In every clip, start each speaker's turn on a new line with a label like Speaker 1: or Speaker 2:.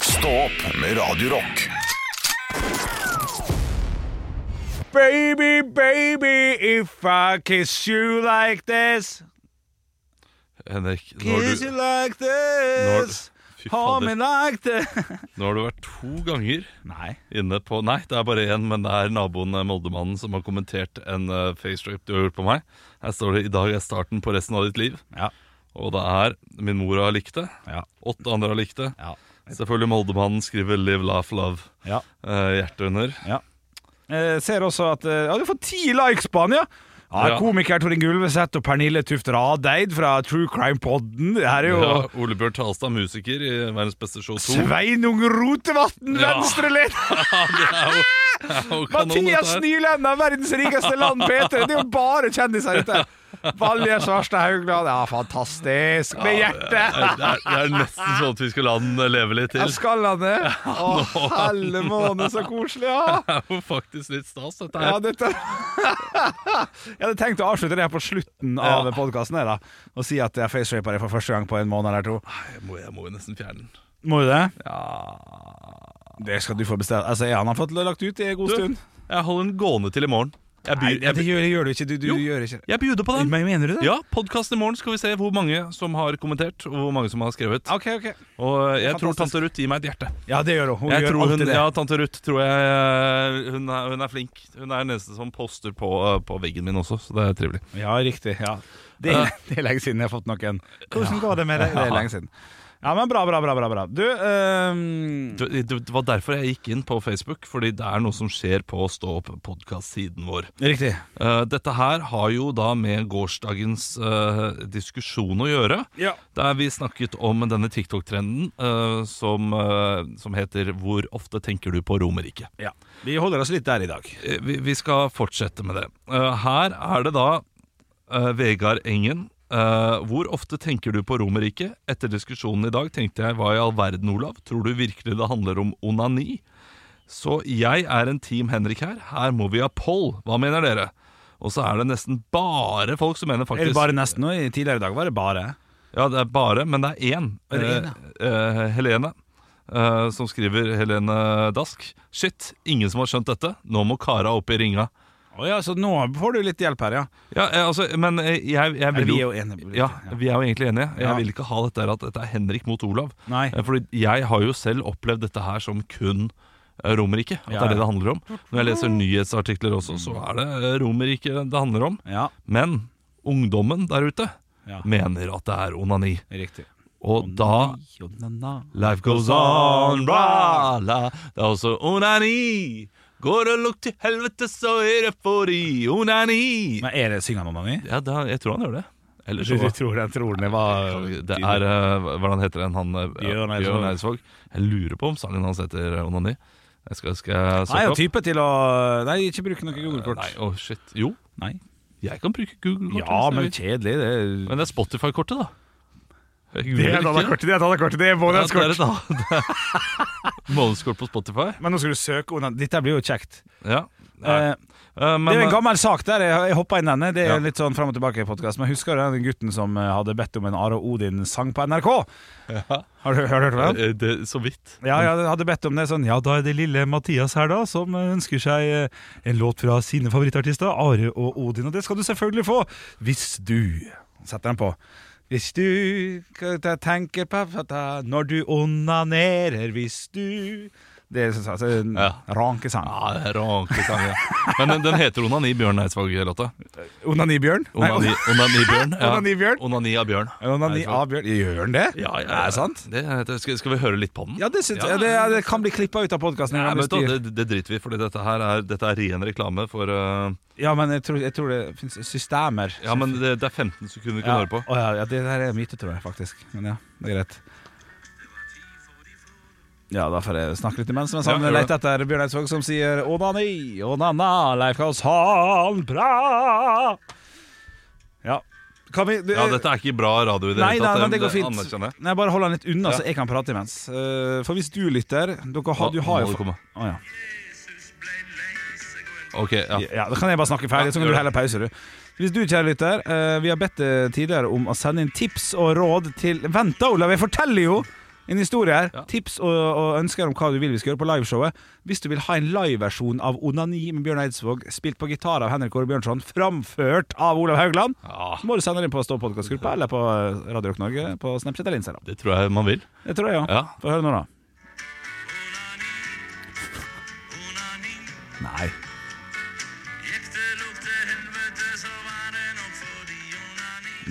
Speaker 1: Stå opp med Radio Rock.
Speaker 2: Baby, baby, if I kiss you like this
Speaker 3: Henrik, nå har
Speaker 2: Kiss you
Speaker 3: du,
Speaker 2: like this
Speaker 3: Fy
Speaker 2: Hold me
Speaker 3: fader.
Speaker 2: like this
Speaker 3: Nå har du vært to ganger
Speaker 2: Nei,
Speaker 3: inne på Nei, det er bare én, men det er naboen eh, Moldemannen som har kommentert en eh, facetrape du har gjort på meg. Her står det 'I dag er starten på resten av ditt liv'.
Speaker 2: ja,
Speaker 3: Og det er 'Min mor har likt det'.
Speaker 2: ja,
Speaker 3: Åtte andre har likt det.
Speaker 2: ja,
Speaker 3: Selvfølgelig Moldemannen skriver 'Live, laugh, love'.
Speaker 2: ja,
Speaker 3: Eh, hjerte under.
Speaker 2: ja. Eh, ser også at eh, ja, Du får ti likes på han, ja ja,
Speaker 3: Ja.
Speaker 2: komiker Torin Gulveseth og Pernille Tuft Radeid fra True Crime Podden Det her er jo
Speaker 3: Ja, Ole Bjørn Talstad, musiker i Verdens beste show 2.
Speaker 2: Sveinung Rotevatn,
Speaker 3: Ja.
Speaker 2: venstreleder
Speaker 3: Og kanon,
Speaker 2: Mathias
Speaker 3: dette her.
Speaker 2: Nylenda, verdens rikeste land, Peter Det er jo bare kjendiser ute Valje Svarstad Haugland, ja, fantastisk Med hjerte
Speaker 3: Det er, det er nesten sånn at vi skal la den leve litt
Speaker 2: Ja,
Speaker 3: til.
Speaker 2: skal han det? Å, helle måned, så koselig, ja!
Speaker 3: Det er jo faktisk litt stas, dette
Speaker 2: ja
Speaker 3: her.
Speaker 2: dette... Jeg hadde tenkt å avslutte det her på slutten av
Speaker 3: Ja.
Speaker 2: podkasten da, og si at jeg facerapa deg for første gang på en måned eller to.
Speaker 3: Jeg må, jeg må jo nesten fjerne den.
Speaker 2: Må du det? Ja Det skal du få bestemme. Altså, ja, han har fått lagt ut i en god
Speaker 3: Du,
Speaker 2: stund.
Speaker 3: Jeg holder den gående til i morgen. Jeg, by,
Speaker 2: Nei,
Speaker 3: jeg,
Speaker 2: det
Speaker 3: by-
Speaker 2: gjør, det gjør du ikke. Du, du
Speaker 3: Jo.
Speaker 2: gjør ikke det.
Speaker 3: jeg bjuder på den.
Speaker 2: Men mener du det?
Speaker 3: Ja, Podkasten i morgen skal vi se hvor mange som har kommentert, og hvor mange som har skrevet.
Speaker 2: Ok, ok.
Speaker 3: Og jeg tror
Speaker 2: Fantastisk.
Speaker 3: tante Ruth gir meg et hjerte.
Speaker 2: Ja, det gjør hun. Hun
Speaker 3: Jeg
Speaker 2: gjør
Speaker 3: tror hun,
Speaker 2: alltid det.
Speaker 3: ja, tante Ruth tror jeg eh, hun er, hun er flink. Hun er den eneste som poster på, eh, på veggen min også, så det er trivelig.
Speaker 2: Ja, riktig. Ja. Det,
Speaker 3: Eh.
Speaker 2: er, det er lenge siden jeg har fått noen. Hvordan går det med deg? Det er lenge siden. Ja, men bra, bra, bra. bra, bra. Du, ehm,
Speaker 3: Det, det det var derfor jeg gikk inn på Facebook, fordi det er noe som skjer på Stå opp-podkast-siden vår.
Speaker 2: Riktig.
Speaker 3: Eh, dette her har jo da med gårsdagens eh, diskusjon å gjøre.
Speaker 2: Ja.
Speaker 3: Der vi snakket om denne TikTok-trenden eh, som, eh, som heter 'Hvor ofte tenker du på Romerike'?
Speaker 2: ja. Vi holder oss litt der i dag.
Speaker 3: Eh, vi, vi skal fortsette med det. Eh, her er det da eh, Vegard Engen. Eh, hvor ofte tenker du på Romerike? Etter diskusjonen i dag tenkte jeg hva i all verden, Olav? Tror du virkelig det handler om onani? Så jeg er en Team Henrik her. Her må vi ha poll. Hva mener dere? Og så er det nesten bare folk som mener faktisk
Speaker 2: Eller bare nesten nå. I Tidligere i dag var det bare.
Speaker 3: ja, det er bare, men det er én.
Speaker 2: Er det én,
Speaker 3: Eh, eh, Helene. eh, som skriver Helene Dask. Shit, ingen som har skjønt dette. Nå må kara opp i ringa.
Speaker 2: Å ja, så nå får du litt hjelp her, ja.
Speaker 3: Ja, eh, altså, men eh, jeg, jeg
Speaker 2: Eller
Speaker 3: vil
Speaker 2: vi
Speaker 3: jo
Speaker 2: er jo enige.
Speaker 3: ja, vi er jo egentlig enige. Jeg
Speaker 2: Ja.
Speaker 3: vil ikke ha dette her at dette er Henrik mot Olav.
Speaker 2: Nei.
Speaker 3: Eh, Fordi jeg har jo selv opplevd dette her som kun eh, Romerike. At
Speaker 2: Ja,
Speaker 3: det er
Speaker 2: ja.
Speaker 3: det det handler om. Når jeg leser nyhetsartikler også, så er det eh, Romerike det handler om.
Speaker 2: Ja,
Speaker 3: Men ungdommen der ute
Speaker 2: Ja.
Speaker 3: mener at det er onani.
Speaker 2: riktig.
Speaker 3: Og da Life goes on, bra, la Det er også onani Går og lukk til helvete, så er det fordi onani
Speaker 2: Men er det synger han om
Speaker 3: Ja, da, jeg tror han gjør det Eller
Speaker 2: Du
Speaker 3: så
Speaker 2: tror den tror den var
Speaker 3: det er, eh, hvordan heter den han eh,
Speaker 2: Bjørn Eidsvåg.
Speaker 3: Bjørn Eidsvåg Jeg lurer på om sangen hans heter eh, onani Jeg skal, skal
Speaker 2: Nei, og
Speaker 3: jeg søke opp
Speaker 2: type til å Nei, ikke bruke noe Google-kort.
Speaker 3: Nei, åh shit Jo,
Speaker 2: Nei.
Speaker 3: jeg kan bruke Google-kortet
Speaker 2: Ja,
Speaker 3: hvis jeg
Speaker 2: men
Speaker 3: vil.
Speaker 2: kjedelig. Det er
Speaker 3: Men det er Spotify-kortet da
Speaker 2: Det er et annet kort, det er et annet kort, det er
Speaker 3: Ja, det er
Speaker 2: månedskort.
Speaker 3: et annet Månedskort på Spotify
Speaker 2: Men nå skal du søke under Dette blir jo kjekt.
Speaker 3: Ja Nei.
Speaker 2: Eh,
Speaker 3: Eh, men,
Speaker 2: det er jo en gammel sak der. Jeg, jeg hoppa inn denne. Det er
Speaker 3: Ja.
Speaker 2: litt sånn fram og tilbake i podcast, Men husker du den gutten som eh, hadde bedt om en Are Odin-sang på NRK? Har du, har du hørt om den?
Speaker 3: Eh, Det, så vidt.
Speaker 2: Ja, jeg hadde bedt om det sånn Ja, da er det lille Mathias her, da, som eh, ønsker seg eh, en låt fra sine favorittartister, Are og Odin. Og det skal du selvfølgelig få hvis du Setter den på. Hvis du tenker på Når du onanerer, hvis du Det er altså en
Speaker 3: Ja.
Speaker 2: rankesang.
Speaker 3: Ja, det er rankesang, ja. Men den, den heter Onani Bjørn Eidsvåg-låta.
Speaker 2: Onanibjørn? Nei,
Speaker 3: Onani, onani Bjørn. Ja.
Speaker 2: Onanibjørn?
Speaker 3: Onani av Bjørn.
Speaker 2: Onani av bjørn. Gjør den det?
Speaker 3: Ja, ja,
Speaker 2: Er det sant?
Speaker 3: Det, det, skal, skal vi høre litt på den?
Speaker 2: Ja, det, synes,
Speaker 3: Ja.
Speaker 2: jeg. det, det kan bli klippa ut av podkasten.
Speaker 3: Nei,
Speaker 2: Ja,
Speaker 3: men vet du hva, det, det driter vi i, for dette her er, dette er ren reklame for eh,
Speaker 2: men jeg tror, jeg tror det fins systemer.
Speaker 3: Ja, men det, det er 15 sekunder vi
Speaker 2: ja.
Speaker 3: kan høre på.
Speaker 2: Å, ja, ja, det der er myte, tror jeg faktisk. Men ja, det er greit. Ja, da får jeg snakke litt imens mens
Speaker 3: Ja,
Speaker 2: han
Speaker 3: gjør det.
Speaker 2: leter etter Bjørn Eidsvåg, som sier onani, onana, Leif Kaos han bra. Ja. Kan vi du,
Speaker 3: Ja, dette er ikke bra radio i det
Speaker 2: Nei,
Speaker 3: hele
Speaker 2: nei,
Speaker 3: tatt.
Speaker 2: men det går fint.
Speaker 3: anerkjenner jeg.
Speaker 2: Nei, bare hold den litt unna,
Speaker 3: Ja.
Speaker 2: så jeg kan prate imens. Eh, for hvis du lytter dere har,
Speaker 3: Nå-
Speaker 2: Du
Speaker 3: nå
Speaker 2: har
Speaker 3: må
Speaker 2: jo
Speaker 3: du komme.
Speaker 2: Å, ja.
Speaker 3: Ok, ja.
Speaker 2: Ja, da kan jeg bare snakke ferdig,
Speaker 3: Ja,
Speaker 2: så kan
Speaker 3: gjør
Speaker 2: du
Speaker 3: det.
Speaker 2: heller pause, du. Hvis du, kjære lytter, eh, vi har bedt eh, tidligere om å sende inn tips og råd til Vent da, Olav, jeg forteller jo! en historie her.
Speaker 3: Ja.
Speaker 2: Tips og, og ønsker om hva du vil vi skal gjøre på liveshowet. Hvis du vil ha en liveversjon av Onani med Bjørn Eidsvåg, spilt på gitar av Henrik Åre Bjørnson, framført av Olav Haugland,
Speaker 3: Ja,
Speaker 2: må du sende det inn på Stå podkastgruppa eller på eh, Radio Rock Norge på Snapchat eller Instagram.
Speaker 3: det tror jeg man vil.
Speaker 2: Det tror jeg, ja.
Speaker 3: Ja.
Speaker 2: Få høre nå, da. Nei.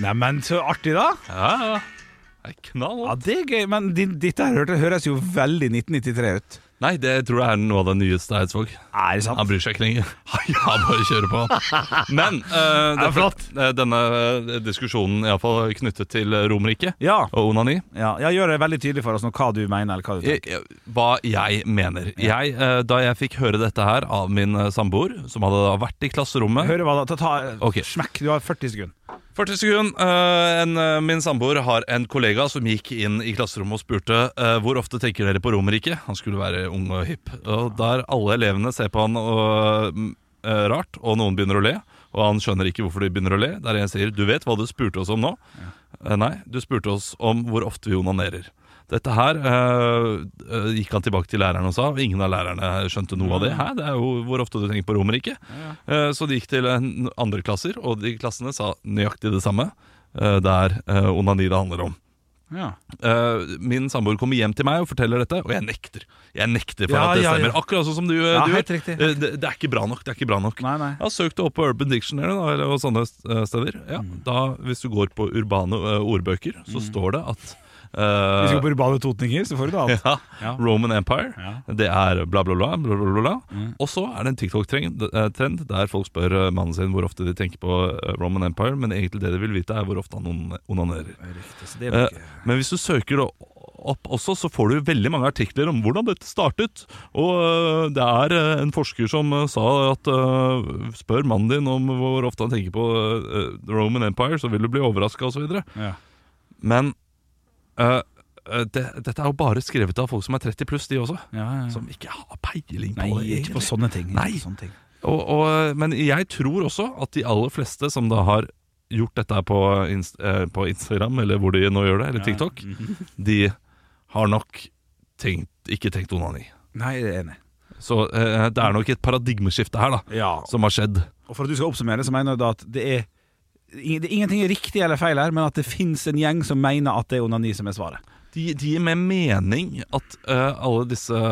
Speaker 2: Neimen, så artig, da.
Speaker 3: Ja, ja. Det er knall.
Speaker 2: Ja, det er gøy, men din, dette her hørte- høres jo veldig 1993 ut.
Speaker 3: Nei, det tror jeg er noe av det nyeste Eidsvåg.
Speaker 2: Er det
Speaker 3: Han
Speaker 2: sant?
Speaker 3: bryr seg ikke lenger. Han bare kjører på. Men eh,
Speaker 2: Det er
Speaker 3: derfor-
Speaker 2: flott.
Speaker 3: eh, denne eh, diskusjonen i alle fall knyttet til eh, Romerriket
Speaker 2: Ja,
Speaker 3: og onani
Speaker 2: ja, ja, gjør det veldig tydelig for oss nå hva du mener, eller hva du tenker.
Speaker 3: jeg, jeg- hva jeg mener. Jeg, eh, da jeg fikk høre dette her av min eh, samboer, som hadde da vært i klasserommet
Speaker 2: Hører hva da? Ta, ta,
Speaker 3: Ok.
Speaker 2: Smekk, du har 40 sekunder.
Speaker 3: 40 sekund, eh, en, eh, Min samboer har en kollega som gikk inn i klasserommet og spurte eh, hvor ofte tenker dere på Romerriket. Han skulle være ung og hipp. Og Der alle elevene ser på han og, mm, eh, rart, og noen begynner å le. Og han skjønner ikke hvorfor de begynner å le. Der jeg sier 'du vet hva du spurte oss om nå'? Eh, Nei, du spurte oss om hvor ofte vi onanerer. Dette her eh, eh, gikk han tilbake til læreren og sa, og ingen av lærerne skjønte noe
Speaker 2: Mm.
Speaker 3: av det. Hæ, det er jo hvor ofte du tenker på Romerriket. Eh, så de gikk til eh, n- andre klasser, og de klassene sa nøyaktig det samme. Eh, det er eh, onani det handler om.
Speaker 2: Ja.
Speaker 3: Eh, min samboer kommer hjem til meg og forteller dette, og jeg nekter. Jeg nekter for
Speaker 2: Ja,
Speaker 3: at det
Speaker 2: ja, ja.
Speaker 3: stemmer. Akkurat sånn som du, eh,
Speaker 2: Ja,
Speaker 3: du
Speaker 2: helt
Speaker 3: gjør.
Speaker 2: riktig.
Speaker 3: Eh, det, det er ikke bra nok. Det er ikke bra nok.
Speaker 2: Nei, nei.
Speaker 3: Jeg har søkt det opp på Urban Dictionary da, eller, og sånne eh, steder. Ja,
Speaker 2: Mm.
Speaker 3: da, hvis du går på urbane eh, ordbøker, så står det at eh,
Speaker 2: Hvis du går på urbane totninger, så får du det alt.
Speaker 3: ja,
Speaker 2: Ja.
Speaker 3: Roman Empire,
Speaker 2: Ja. Mm.
Speaker 3: det er bla, bla, bla. bla, bla, bla. Og så er det en TikTok-trend eh, trend der folk spør eh, mannen sin hvor ofte de tenker på eh, Roman Empire, men egentlig det de vil vite, er hvor ofte han onan- onanerer.
Speaker 2: Riktig, så det er
Speaker 3: Eh,
Speaker 2: jo ikke-
Speaker 3: Men hvis du søker da opp også, så får du veldig mange artikler om hvordan dette startet. Og eh, det er eh, en forsker som eh, sa at eh, spør mannen din om hvor ofte han tenker på eh, The Roman Empire, så vil du bli overraska osv.
Speaker 2: ja.
Speaker 3: Men eh, eh, det, dette er jo bare skrevet av folk som er 30 pluss, de også.
Speaker 2: Ja, ja.
Speaker 3: Som ikke har peiling på
Speaker 2: Nei,
Speaker 3: det.
Speaker 2: ikke på
Speaker 3: egentlig.
Speaker 2: sånne ting. ikke
Speaker 3: Nei.
Speaker 2: på Sånne ting.
Speaker 3: Og, og, men jeg tror også at de aller fleste som da har gjort dette her på, inst eh, på Instagram, eller hvor de nå gjør det, eller TikTok, de har nok tenkt, ikke tenkt onani.
Speaker 2: Nei, jeg er enig.
Speaker 3: Så eh, det er nok et paradigmeskifte her, da,
Speaker 2: Ja,
Speaker 3: som har skjedd.
Speaker 2: Og for at du skal oppsummere, så mener du da at det er ing- det, Ingenting er riktig eller feil her, men at det fins en gjeng som mener at det er onani som er svaret.
Speaker 3: De, de gir mer mening at eh, alle disse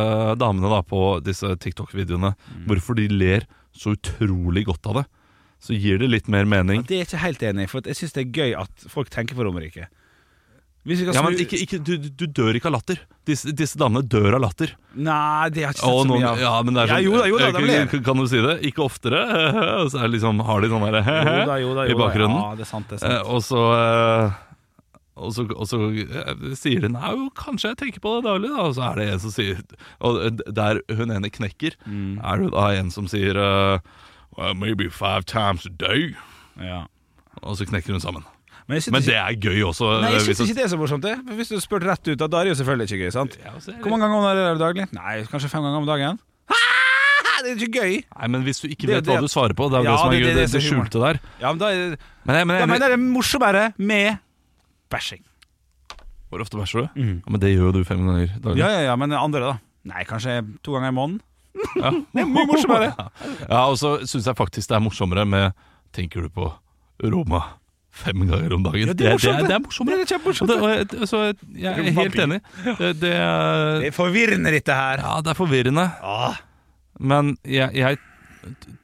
Speaker 3: damene da på disse TikTok-videoene Hvorfor de ler så utrolig godt av det. Så gir det litt mer mening.
Speaker 2: Men det er jeg ikke helt enig i, for jeg syns det er gøy at folk tenker på Romerike. Hvis vi skal
Speaker 3: Ja, men
Speaker 2: snu-
Speaker 3: ikke, ikke, du, du dør ikke av latter. Disse, disse damene dør av latter.
Speaker 2: Nei, det har jeg ikke
Speaker 3: Og
Speaker 2: sett så
Speaker 3: noen,
Speaker 2: mye av.
Speaker 3: ja, men det er
Speaker 2: Ja,
Speaker 3: sånn,
Speaker 2: jo da, jo da,
Speaker 3: eh,
Speaker 2: de ler.
Speaker 3: kan, kan du si det? Ikke oftere. Og så er det liksom, har de sånn der
Speaker 2: Jo da, jo da, jo
Speaker 3: i
Speaker 2: da.
Speaker 3: bakgrunnen.
Speaker 2: Ja, det er sant, det er
Speaker 3: Eh,
Speaker 2: sant.
Speaker 3: Og så eh, og så, og så eh, sier de Nei, jo, kanskje jeg tenker på det daglig, da. Og så er det en som sier Og eh, d- der hun ene knekker,
Speaker 2: Mm.
Speaker 3: er det da en som sier eh, well, Maybe five times a day.
Speaker 2: Ja.
Speaker 3: Og så knekker hun sammen.
Speaker 2: Men jeg syns
Speaker 3: Men
Speaker 2: ikke,
Speaker 3: det er gøy også.
Speaker 2: nei, jeg
Speaker 3: eh, hvis
Speaker 2: synes ikke det er så morsomt, det. For Hvis du spør rett ut, da, da er det jo selvfølgelig ikke gøy. sant?
Speaker 3: Ja, altså, så er det-
Speaker 2: Hvor mange ganger onanerer du daglig? Nei, kanskje fem ganger om dagen. Ah, det er ikke gøy!
Speaker 3: Nei, men hvis du ikke
Speaker 2: Det er
Speaker 3: vet
Speaker 2: jo
Speaker 3: hva
Speaker 2: det-
Speaker 3: du svarer på, det er jo
Speaker 2: Ja,
Speaker 3: det som
Speaker 2: det
Speaker 3: er
Speaker 2: er
Speaker 3: gøy.
Speaker 2: det
Speaker 3: Det,
Speaker 2: som er
Speaker 3: det skjulte der.
Speaker 2: Ja, men da er det,
Speaker 3: Men jeg, men
Speaker 2: da
Speaker 3: jeg,
Speaker 2: mener jeg det er morsommere med bæsjing.
Speaker 3: Hvor ofte bæsjer du? Ja, men det gjør jo du fem ganger daglig.
Speaker 2: Mm. Ja, ja, ja, men andre, da? Nei, kanskje to ganger i måneden.
Speaker 3: Ja.
Speaker 2: Det er mye morsommere.
Speaker 3: Ja, og så syns jeg faktisk det er morsommere med Tenker du på Roma fem ganger om dagen?
Speaker 2: Ja, det er morsomt,
Speaker 3: det, er,
Speaker 2: det.
Speaker 3: det er morsommere.
Speaker 2: Det er kjempemorsomt,
Speaker 3: Og det- og jeg- så jeg er helt enig. Det, det, er-
Speaker 2: Det er forvirrende, dette her.
Speaker 3: ja, det er forvirrende,
Speaker 2: Ah,
Speaker 3: men jeg, jeg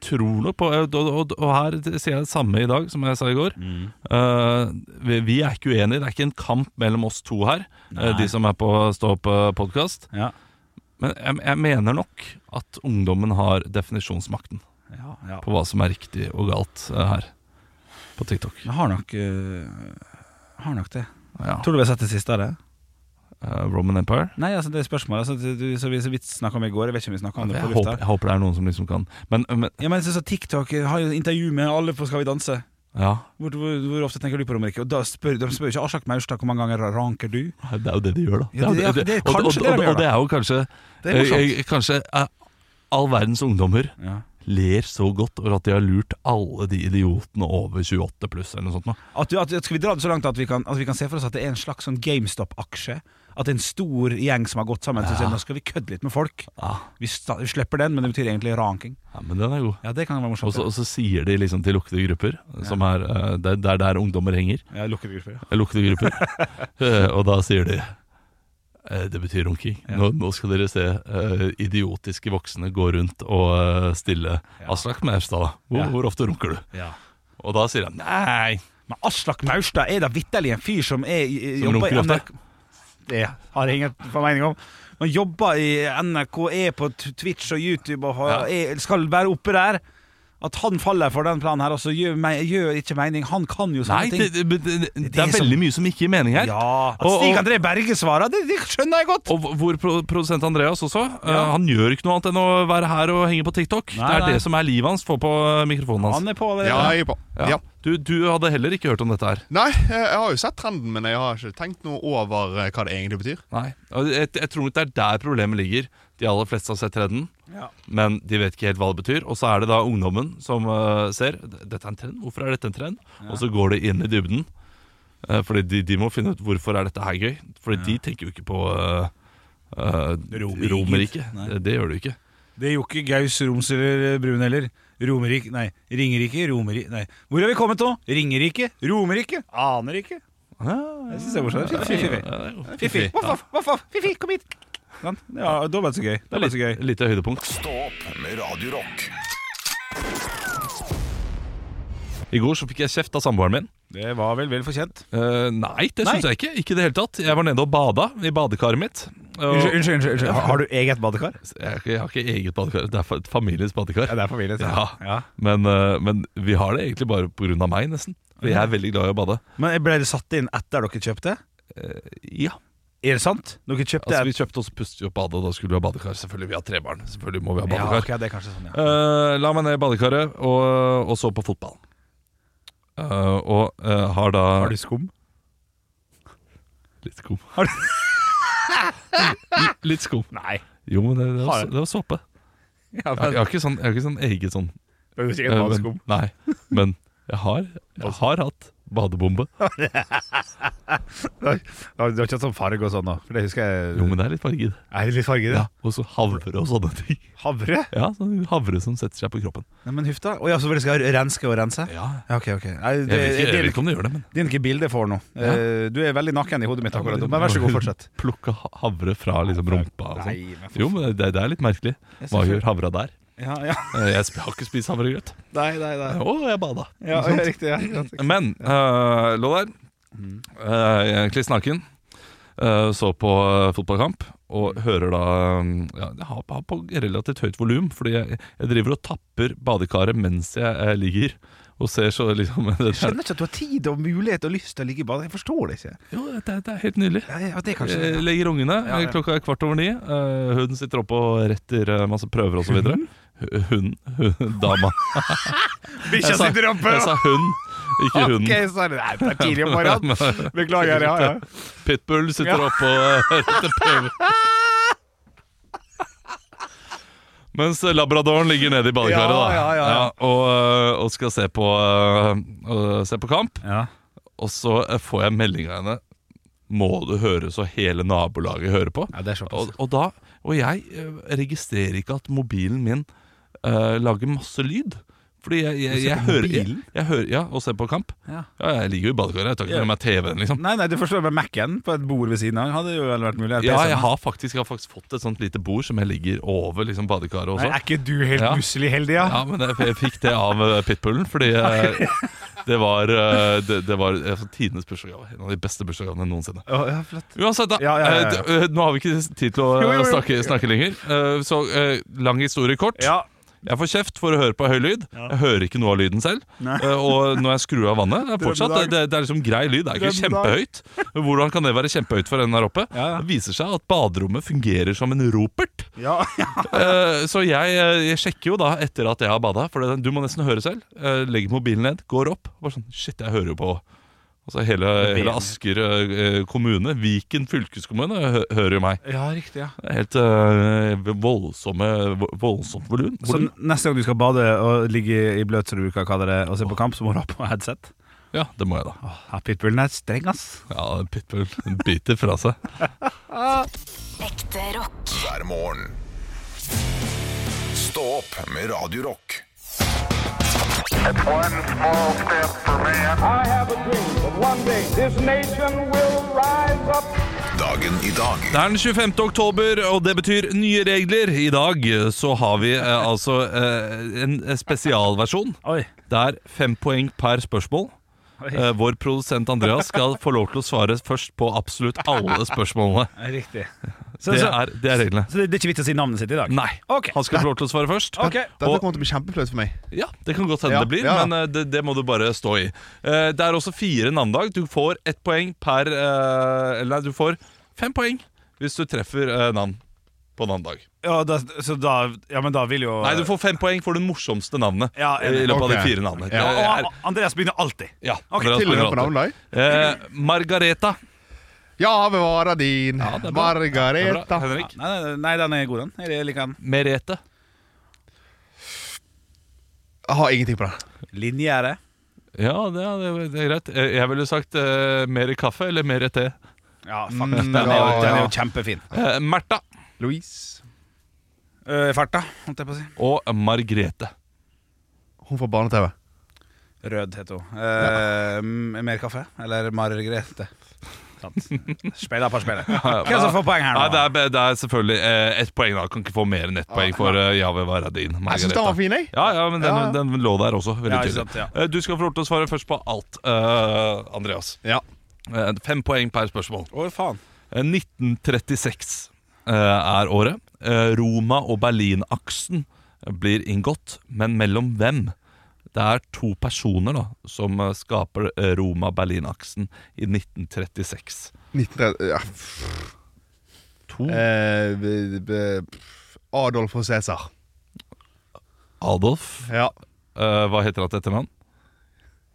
Speaker 3: tror nok på og, og, og her sier jeg det samme i dag som jeg sa i går.
Speaker 2: Mm.
Speaker 3: Eh, vi, vi er ikke uenige. Det er ikke en kamp mellom oss to her, eh, de som er på Stå opp-podkast.
Speaker 2: ja.
Speaker 3: Men jeg, jeg mener nok at ungdommen har definisjonsmakten.
Speaker 2: Ja, ja.
Speaker 3: på hva som er riktig og galt eh, her på TikTok.
Speaker 2: Jeg har nok eh, Har nok det.
Speaker 3: Ja.
Speaker 2: Tror du vi har sett det siste av det?
Speaker 3: Eh, Roman Empire.
Speaker 2: Nei, altså det er spørsmålet altså, det- du, så vi så vidt snakka om i går. Jeg vet ikke om vi snakka om det på
Speaker 3: Jeg håper,
Speaker 2: lufta.
Speaker 3: jeg håper det er noen som liksom kan Men, men
Speaker 2: Ja, men så, så TikTok har jo intervju med alle på Skal vi danse.
Speaker 3: ja,
Speaker 2: Hvor, hvor, hvor ofte tenker du på Romerike? Og da spør, de spør jo ikke Aslak Maurstad hvor mange ganger ranker du?
Speaker 3: det er jo det de gjør, da.
Speaker 2: Ja, det er-
Speaker 3: jo
Speaker 2: det er
Speaker 3: og- og-
Speaker 2: kanskje det de
Speaker 3: og-
Speaker 2: gjør,
Speaker 3: Og det er jo kanskje
Speaker 2: Det er morsomt.
Speaker 3: eh, eh, Kanskje eh, all verdens ungdommer
Speaker 2: Ja.
Speaker 3: ler så godt over at de har lurt alle de idiotene over 28 pluss eller noe sånt. nå.
Speaker 2: At, du- at, at skal vi dra det så langt at vi kan, at vi kan se for oss at det er en slags sånn GameStop-aksje? at en stor gjeng som har gått sammen, ja. sier nå skal vi kødde litt med folk.
Speaker 3: Ja,
Speaker 2: Vi, sta- vi slipper den, men det betyr egentlig ranking.
Speaker 3: ja, men den er god.
Speaker 2: Ja, det kan være
Speaker 3: Og
Speaker 2: morsomt.
Speaker 3: så, og så sier de liksom til lukkede grupper, som er eh, det er der, der ungdommer henger.
Speaker 2: Ja, lukkede grupper. Ja.
Speaker 3: Lukkede grupper. Eh, og da sier de eh, det betyr runking. Nå, nå skal dere se eh, idiotiske voksne gå rundt og eh, stille
Speaker 2: Ja.
Speaker 3: Aslak Maurstad, hvor,
Speaker 2: Ja.
Speaker 3: hvor ofte runker du?
Speaker 2: Ja.
Speaker 3: Og da sier han nei,
Speaker 2: Men Aslak Maurstad er da vitterlig en fyr som er i- i-
Speaker 3: Som
Speaker 2: jobber i
Speaker 3: runker ofte?
Speaker 2: NRK Det har jeg ingen formening om. Man jobber i NRK, er på t- Twitch og YouTube og har, er, skal være oppe der. At han faller for den planen her, altså gjør, me- gjør ikke mening. Han kan jo
Speaker 3: nei
Speaker 2: sånne
Speaker 3: det,
Speaker 2: ting.
Speaker 3: det, det, det,
Speaker 2: det
Speaker 3: er
Speaker 2: som-
Speaker 3: veldig mye som ikke gir mening her.
Speaker 2: Ja, At
Speaker 3: Og-
Speaker 2: Stig
Speaker 3: og-
Speaker 2: André Berge svarer, det, det skjønner jeg godt.
Speaker 3: Og hvor pro- produsent Andreas også. eh,
Speaker 2: Ja.
Speaker 3: han gjør ikke noe annet enn å være her og henge på TikTok.
Speaker 2: Nei,
Speaker 3: det er
Speaker 2: nei.
Speaker 3: det som er livet hans. Få på eh, mikrofonen hans.
Speaker 2: Han er på allerede.
Speaker 4: Ja, jeg er på.
Speaker 3: Ja.
Speaker 4: Ja.
Speaker 3: Du, du hadde heller ikke hørt om dette her.
Speaker 4: Nei, jeg jeg har jo sett trenden, men jeg har ikke tenkt noe over eh, hva det egentlig betyr.
Speaker 3: Nei, og jeg, jeg tror nok det er der problemet ligger. De aller fleste har sett trenden,
Speaker 2: Ja.
Speaker 3: men de vet ikke helt hva det betyr. Og så er det da ungdommen som eh, ser Dette er en trend, hvorfor er dette en trend? Og så går de inn i dybden. Eh, fordi de, de må finne ut hvorfor er dette her gøy. Fordi de tenker jo ikke på uh,
Speaker 2: Romerriket.
Speaker 3: Romerriket.
Speaker 2: Nei.
Speaker 3: Det, det gjør du ikke.
Speaker 2: Det er jo ikke Gaus, Roms eller Brun heller. Romerik, nei, Ringerike, Romerike Nei, hvor har vi kommet nå? Ringerike, Romerike, aner ikke. Jeg synes Ah, det er morsomt. Fiffi, fiffi,
Speaker 3: Ja, Eh, det er jo
Speaker 2: fiffi. Voff, voff, voff, voff, fiffi, kom hit. Sånn. Ja, da var det så gøy. Da var det så gøy.
Speaker 3: Et lite høydepunkt.
Speaker 1: Stå opp med Radio Rock.
Speaker 3: I går så fikk jeg kjeft av samboeren min.
Speaker 2: Det var vel vel fortjent.
Speaker 3: Eh, nei, det
Speaker 2: Nei.
Speaker 3: syns jeg ikke. Ikke i det hele tatt. Jeg var nede og bada i badekaret mitt. Og
Speaker 2: Unnskyld, unnskyld, unnskyld. unnskyld. Har- Har du eget badekar?
Speaker 3: Jeg, jeg har ikke eget badekar, det er fa- familiens badekar.
Speaker 2: Ja, det er familie. så.
Speaker 3: Ja.
Speaker 2: ja.
Speaker 3: Men, eh, men vi har det egentlig bare pga. meg, nesten. For jeg er veldig glad i å bade.
Speaker 2: Men ble det satt inn etter dere kjøpte?
Speaker 3: Ja,
Speaker 2: Er det sant? Dere kjøpte
Speaker 3: altså Vi kjøpte oss pustet vi opp badet, og da skulle vi ha badekar. Selvfølgelig, vi har tre barn. Selvfølgelig må vi ha
Speaker 2: Ja,
Speaker 3: badekar.
Speaker 2: ok, det er kanskje sånn, ja.
Speaker 3: Eh, la meg ned i badekaret og, og så på fotball. Eh, og eh, har da
Speaker 2: Har du skum?
Speaker 3: Litt skum.
Speaker 2: Har
Speaker 3: Litt- Litt skum.
Speaker 2: Nei.
Speaker 3: Jo, men det,
Speaker 2: Har
Speaker 3: det, var,
Speaker 2: jeg?
Speaker 3: det var såpe.
Speaker 2: Ja,
Speaker 3: Jeg, jeg,
Speaker 2: men,
Speaker 3: har ikke sånn, jeg har ikke sånn eget sånn
Speaker 2: det er jo sikkert
Speaker 3: Eh,
Speaker 2: vannskum.
Speaker 3: men, nei, men jeg har, jeg har hatt badebombe.
Speaker 2: Du har du har ikke hatt sånn farge og sånn nå? For det husker jeg
Speaker 3: Jo, men det er litt farget.
Speaker 2: Er det litt farge i det?
Speaker 3: Ja, og så havre og sånne ting.
Speaker 2: Havre?
Speaker 3: Ja, sånn Havre som setter seg på kroppen.
Speaker 2: Nei, men huff da. Å ja, så dere skal renske og rense?
Speaker 3: Ja,
Speaker 2: Ja, ok, ok. Nei,
Speaker 3: jeg
Speaker 2: det,
Speaker 3: vet, ikke,
Speaker 2: det,
Speaker 3: jeg
Speaker 2: er
Speaker 3: vet ikke om det gjør det, men
Speaker 2: det er ikke bildet jeg får nå.
Speaker 3: Ja.
Speaker 2: Eh, Du er veldig naken i hodet mitt akkurat nå, men vær så god, fortsett.
Speaker 3: Plukke ha- havre fra liksom rumpa og sånn.
Speaker 2: Nei, men for-
Speaker 3: Jo, men det, det er litt merkelig.
Speaker 2: Jeg
Speaker 3: Hva
Speaker 2: synes-
Speaker 3: gjør havra der?
Speaker 2: Ja, ja.
Speaker 3: Eh, Jeg sp- har ikke spist havregrøt.
Speaker 2: Nei, nei, nei.
Speaker 3: Å, jeg bada.
Speaker 2: Ja, ja, riktig. Ja. ikke sant.
Speaker 3: Men eh, lå der, uh, kliss naken, eh, så på eh, fotballkamp og hører da mm, ja, Jeg har har på relativt høyt volum, fordi jeg, jeg driver og tapper badekaret mens jeg eh, ligger og ser så liksom
Speaker 2: Jeg
Speaker 3: det er,
Speaker 2: skjønner ikke at du har tid og mulighet og lyst til å ligge i badet. Jeg forstår det ikke.
Speaker 3: Jo, det er, det er helt nydelig.
Speaker 2: Ja, ja, det er kanskje
Speaker 3: Jeg Eh, legger ungene,
Speaker 2: Ja, ja.
Speaker 3: klokka er kvart over ni. eh, Hun sitter oppe og retter eh, masse prøver osv. Hun? hun Dama.
Speaker 2: Bikkja
Speaker 3: Jeg sa-
Speaker 2: sitter oppe!
Speaker 3: Jeg sa hun, ikke hun.
Speaker 2: Ok, sorry. Nei, det er tidlig om morgenen. Beklager. Ja, ja.
Speaker 3: Pitbull sitter
Speaker 2: Ja.
Speaker 3: oppe og eh, retter prøver. Mens labradoren ligger nede i
Speaker 2: Ja,
Speaker 3: badekaret da
Speaker 2: ja, ja, ja.
Speaker 3: og, eh, og skal se på, eh, og se på kamp.
Speaker 2: Ja.
Speaker 3: Og så eh, får jeg melding av henne. Må du høre så hele nabolaget hører på?
Speaker 2: ja, det er såpass.
Speaker 3: Og, og, da, og jeg eh, registrerer ikke at mobilen min eh, lager masse lyd. Fordi
Speaker 2: Du
Speaker 3: jeg, jeg, jeg,
Speaker 2: ser på
Speaker 3: hører, jeg,
Speaker 2: mobilen?
Speaker 3: jeg hører Ja, og ser på kamp.
Speaker 2: Ja.
Speaker 3: Ja, jeg ligger jo i badekaret. Jeg tar ikke
Speaker 2: Ja.
Speaker 3: med meg TV-en, liksom.
Speaker 2: Nei, nei, du forstår med Mac-en på et bord ved siden av hadde jo vel vært mulig. Eller
Speaker 3: Ja,
Speaker 2: PC-en.
Speaker 3: jeg har faktisk, jeg har faktisk fått et sånt lite bord som jeg ligger over liksom,
Speaker 2: Nei,
Speaker 3: badekaret også.
Speaker 2: er ikke du helt
Speaker 3: Ja.
Speaker 2: musselig heldig, ja?
Speaker 3: Ja, men jeg, jeg fikk det av eh, pitbullen, fordi eh, det var, eh, det, det var eh, tidenes bursdagsgave. En av de beste bursdagsgavene noensinne.
Speaker 2: Ja, ja flott.
Speaker 3: Uansett, da.
Speaker 2: Ja, ja, ja, ja.
Speaker 3: eh, d- eh, Nå har vi ikke tid til å
Speaker 2: Jo, jo, jo.
Speaker 3: snakke, snakke lenger. Eh, Så eh, lang historie kort.
Speaker 2: Ja.
Speaker 3: Jeg får kjeft for å høre på høy lyd. Jeg hører ikke noe av lyden selv.
Speaker 2: Nei.
Speaker 3: Eh, Og når jeg skrur av vannet det er fortsatt,
Speaker 2: Drømmedag.
Speaker 3: det, det er liksom grei lyd. Det er ikke
Speaker 2: Drømmedag.
Speaker 3: kjempehøyt. Men Hvordan kan det være kjempehøyt for en der oppe?
Speaker 2: Ja, ja.
Speaker 3: Det viser seg at baderommet fungerer som en ropert.
Speaker 2: Ja, ja.
Speaker 3: Eh, Så jeg, eh, jeg sjekker jo da etter at jeg har bada, for det, du må nesten høre selv. Eh, Legger mobilen ned, går opp. Bare sånn Shit, jeg hører jo på Altså hele, hele Asker eh, kommune, Viken fylkeskommune, hø- hører jo meg.
Speaker 2: riktig, ja.
Speaker 3: Det er Helt eh, voldsomme, voldsomt volum.
Speaker 2: Så neste gang du skal bade og ligge i bløt så du bruker hva det er, og se på kamp, så må du ha på headset?
Speaker 3: Ja, det må jeg, da.
Speaker 5: Åh, ja, Pitbullen er streng, ass.
Speaker 3: Ja, Pitbull biter fra seg.
Speaker 6: Ekte rock.
Speaker 1: hver morgen. Stå opp med Radio Rock.
Speaker 7: One small step for man.
Speaker 8: I have a dream that one day this nation will rise up.
Speaker 1: Dagen i dag
Speaker 3: Det er den 25. oktober, og det betyr nye regler. I dag eh, så har vi eh, altså eh, en spesialversjon.
Speaker 5: Oi.
Speaker 3: Det er fem poeng per spørsmål. Eh, vår produsent Andreas skal få lov til å svare først på absolutt alle spørsmålene.
Speaker 5: Riktig. Så,
Speaker 3: Det
Speaker 5: så,
Speaker 3: er, det er reglene.
Speaker 5: så det, det er ikke vits å si navnet sitt i dag?
Speaker 3: Nei.
Speaker 5: Ok.
Speaker 3: Han skal få lov til å svare først.
Speaker 5: Ok.
Speaker 4: Dette
Speaker 3: Og-
Speaker 4: kommer til å bli kjempeflaut for meg.
Speaker 3: Ja, Det kan godt hende
Speaker 4: Ja,
Speaker 3: det blir,
Speaker 4: ja.
Speaker 3: men eh, det, det må du bare stå i. Eh, Det er også fire navnedag. Du får ett poeng per eh, Eller nei, du får fem poeng hvis du treffer eh, navn på navnedag.
Speaker 5: Ja, da, så da, ja, men da vil jo
Speaker 3: Nei, du får fem poeng for det morsomste navnet
Speaker 5: Ja,
Speaker 3: i løpet av de
Speaker 4: ok.
Speaker 3: fire navnene.
Speaker 4: Ja.
Speaker 3: Det er-
Speaker 5: Å, Andreas begynner alltid.
Speaker 3: ja,
Speaker 5: Ok,
Speaker 3: Andreas
Speaker 4: Til og med
Speaker 3: Bergerate.
Speaker 4: på navnedag.
Speaker 3: Eh, Margareta.
Speaker 4: Ja, bevare din
Speaker 3: Ja, det er bra. Det er bra.
Speaker 4: Margareta.
Speaker 3: Henrik.
Speaker 5: Nei, nei, nei, den er god, den. Jeg liker den.
Speaker 3: Merete.
Speaker 4: Jeg har ingenting på den.
Speaker 5: Linjære.
Speaker 3: Ja, det, er- det er- det er greit. Eh, Jeg ville sagt eh, mer kaffe eller mer te.
Speaker 5: Ja, fuck.
Speaker 4: Mm,
Speaker 5: Den er jo,
Speaker 4: ja,
Speaker 5: den er
Speaker 4: ja.
Speaker 5: jo kjempefin.
Speaker 3: Eh, Märtha
Speaker 4: Louise.
Speaker 5: Uh, farta, holdt jeg på å si.
Speaker 3: og Margrete.
Speaker 4: Hun får barne-TV.
Speaker 5: Rød heter hun. Eh, m- Mer kaffe? Eller Margrethe? Sant. Spiller på spiller. Hvem som får poeng her
Speaker 3: Nei, det
Speaker 5: nå?
Speaker 3: er, det er selvfølgelig eh, ett poeng, da. Kan ikke få mer enn ett poeng for eh, Jave Varadin.
Speaker 4: Jeg syns den var fin, jeg.
Speaker 3: Ja, ja, men den,
Speaker 4: Ja.
Speaker 3: den lå der også. Veldig
Speaker 5: Ja, ikke
Speaker 3: tydelig.
Speaker 5: sant, ja.
Speaker 3: Eh, Du skal få lov til å svare først på alt, eh, Andreas.
Speaker 4: Ja.
Speaker 3: Eh, Fem poeng per spørsmål.
Speaker 5: Å, faen.
Speaker 3: Eh, 1936 eh, er året. Eh, Roma- og Berlinaksen blir inngått, men mellom hvem? Det er to personer da, som eh, skaper eh, Roma-Berlinaksen i 1936.
Speaker 4: 1930 ja.
Speaker 3: To
Speaker 4: Eh, b- b- pff, Adolf og Cæsar.
Speaker 3: Adolf
Speaker 4: Ja.
Speaker 3: eh, Hva heter han til etternavn?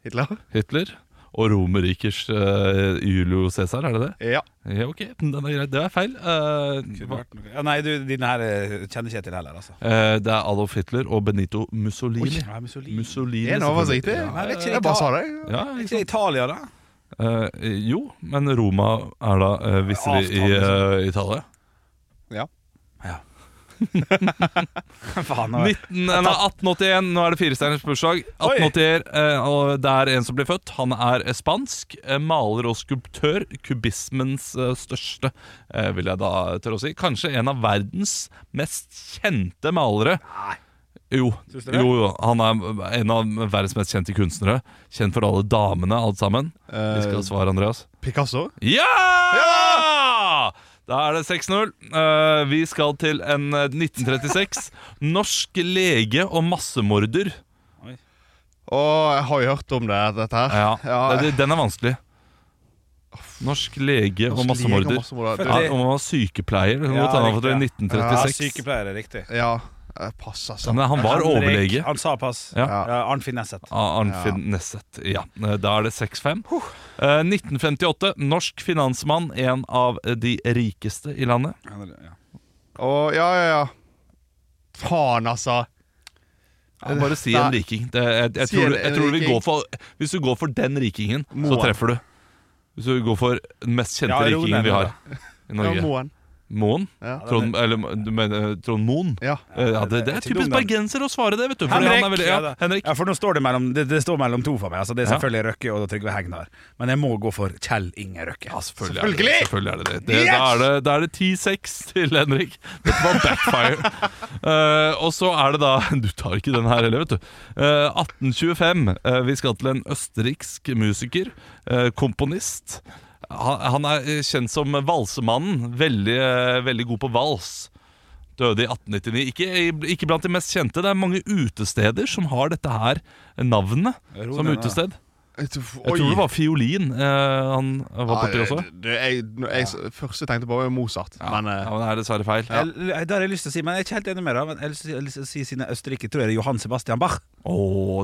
Speaker 4: Hitler?
Speaker 3: Hitler. Og Romerrikers eh, Julio Cæsar, er det det?
Speaker 4: Ja.
Speaker 3: Ja, ok, den er grei. Det er feil. Eh, hva-
Speaker 5: Ja, nei, du, dine her eh, kjenner ikke jeg til heller, altså.
Speaker 3: eh, det er Adolf Hitler og Benito Mussolini.
Speaker 5: Ja, Mussolini.
Speaker 3: Mussolini
Speaker 4: En oversikt, det.
Speaker 3: selvfølgelig.
Speaker 5: Nei, vet ikke det
Speaker 4: Jeg bare sa
Speaker 5: Ita-
Speaker 4: det.
Speaker 3: Ja,
Speaker 5: Er
Speaker 3: ikke
Speaker 5: ikke
Speaker 3: sant?
Speaker 5: det Italia, da?
Speaker 3: Eh, jo, men Roma er da uh, visselig i eh, Italia.
Speaker 4: Ja.
Speaker 5: Faen, nå-
Speaker 3: 19, nei, 1881, nå er det firestjerners bursdag. 1881, eh, og det er en som ble født. Han er eh, spansk, eh, maler og skulptør. Kubismens eh, største, eh, vil jeg da tørre å si. Kanskje en av verdens mest kjente malere. Jo,
Speaker 5: Syns du det?
Speaker 3: jo, jo, han er en av verdens mest kjente kunstnere. Kjent for alle damene, alt sammen. Vi skal ha svar, Andreas.
Speaker 4: Picasso?
Speaker 3: Ja! Da er det 6-0. Eh, vi skal til en eh, 1936. Norsk lege og massemorder.
Speaker 4: Og jeg har jo hørt om det, dette her.
Speaker 3: Ja,
Speaker 4: Ja.
Speaker 3: det- Den er vanskelig. Norsk lege og
Speaker 4: Norsk lege og
Speaker 3: massemorder.
Speaker 4: massemorder.
Speaker 3: Ja, om han var sykepleier. Det kan
Speaker 5: Ja,
Speaker 3: godt hende han
Speaker 5: riktig, ja.
Speaker 3: var født i
Speaker 5: Ja,
Speaker 3: 1936.
Speaker 5: sykepleier er riktig.
Speaker 4: Ja, eh, pass, altså.
Speaker 3: Men han var
Speaker 5: Henrik,
Speaker 3: overlege.
Speaker 5: Han sa pass.
Speaker 3: Ja.
Speaker 5: Ja, Arnfinn Nesset.
Speaker 3: Av Arnfinn Nesset. Ja, eh, da er det 6-5. Eh, 1958. Norsk finansmann, en av eh, de rikeste i landet.
Speaker 5: Ja.
Speaker 4: Og ja, ja, ja. Faen, altså.
Speaker 3: Ja, bare si en
Speaker 4: Nei.
Speaker 3: riking. Det, jeg, jeg,
Speaker 4: Si
Speaker 3: tror,
Speaker 4: en-
Speaker 3: jeg
Speaker 4: en
Speaker 3: tror vi
Speaker 4: riking.
Speaker 3: går for Hvis du går for den rikingen, så
Speaker 4: Moen.
Speaker 3: treffer du. Hvis du går for den mest kjente
Speaker 5: Ja, Ronen,
Speaker 3: rikingen vi har i
Speaker 4: Ja,
Speaker 3: Norge.
Speaker 4: Moen.
Speaker 3: Moen?
Speaker 4: Ja.
Speaker 3: Trond, eller, du mener eh, Trond Moen?
Speaker 4: Ja.
Speaker 3: Eh, Ja, det, det
Speaker 5: Jeg
Speaker 3: er
Speaker 5: er ikke dum,
Speaker 3: typisk
Speaker 5: den.
Speaker 3: bergenser å svare det, vet du. fordi han
Speaker 5: Henrik!
Speaker 3: er veldig, ja,
Speaker 5: da.
Speaker 3: Henrik.
Speaker 5: Ja, for nå står det mellom, det, det står mellom to for meg. Altså, det er
Speaker 3: Ja.
Speaker 5: selvfølgelig Røkke og Trygve Hegnar. Men jeg må gå for Kjell Inge Røkke.
Speaker 3: Ja, selvfølgelig, Er det,
Speaker 4: Selvfølgelig!
Speaker 3: det. selvfølgelig er det det. det da er det, da er det 10-6 til Henrik. Det var backfire. Eh, og så er det da Du tar ikke den her heller, vet du. Eh, 1825. eh, vi skal til en østerriksk musiker. eh, komponist. Han, han er eh, kjent som valsemannen. Veldig, eh, veldig god på vals. Døde i 1899. Ikke, ikke blant de mest kjente. Det er mange utesteder som har dette her navnet
Speaker 5: Ro
Speaker 3: som
Speaker 5: deg ned.
Speaker 3: utested.
Speaker 4: Jeg
Speaker 3: Jeg tror det var fiolin eh, han var borti også.
Speaker 4: Det, det, jeg, når jeg, første jeg tenkte på, var jo Mozart. Men eh,
Speaker 3: Ja, men det er dessverre feil. Åh,
Speaker 5: Jeg, jeg- der har jeg lyst til å si, men jeg er ikke helt enig med deg. Men jeg har lyst til å si- si siden Østerrike tror jeg det er Johan Sebastian Bach.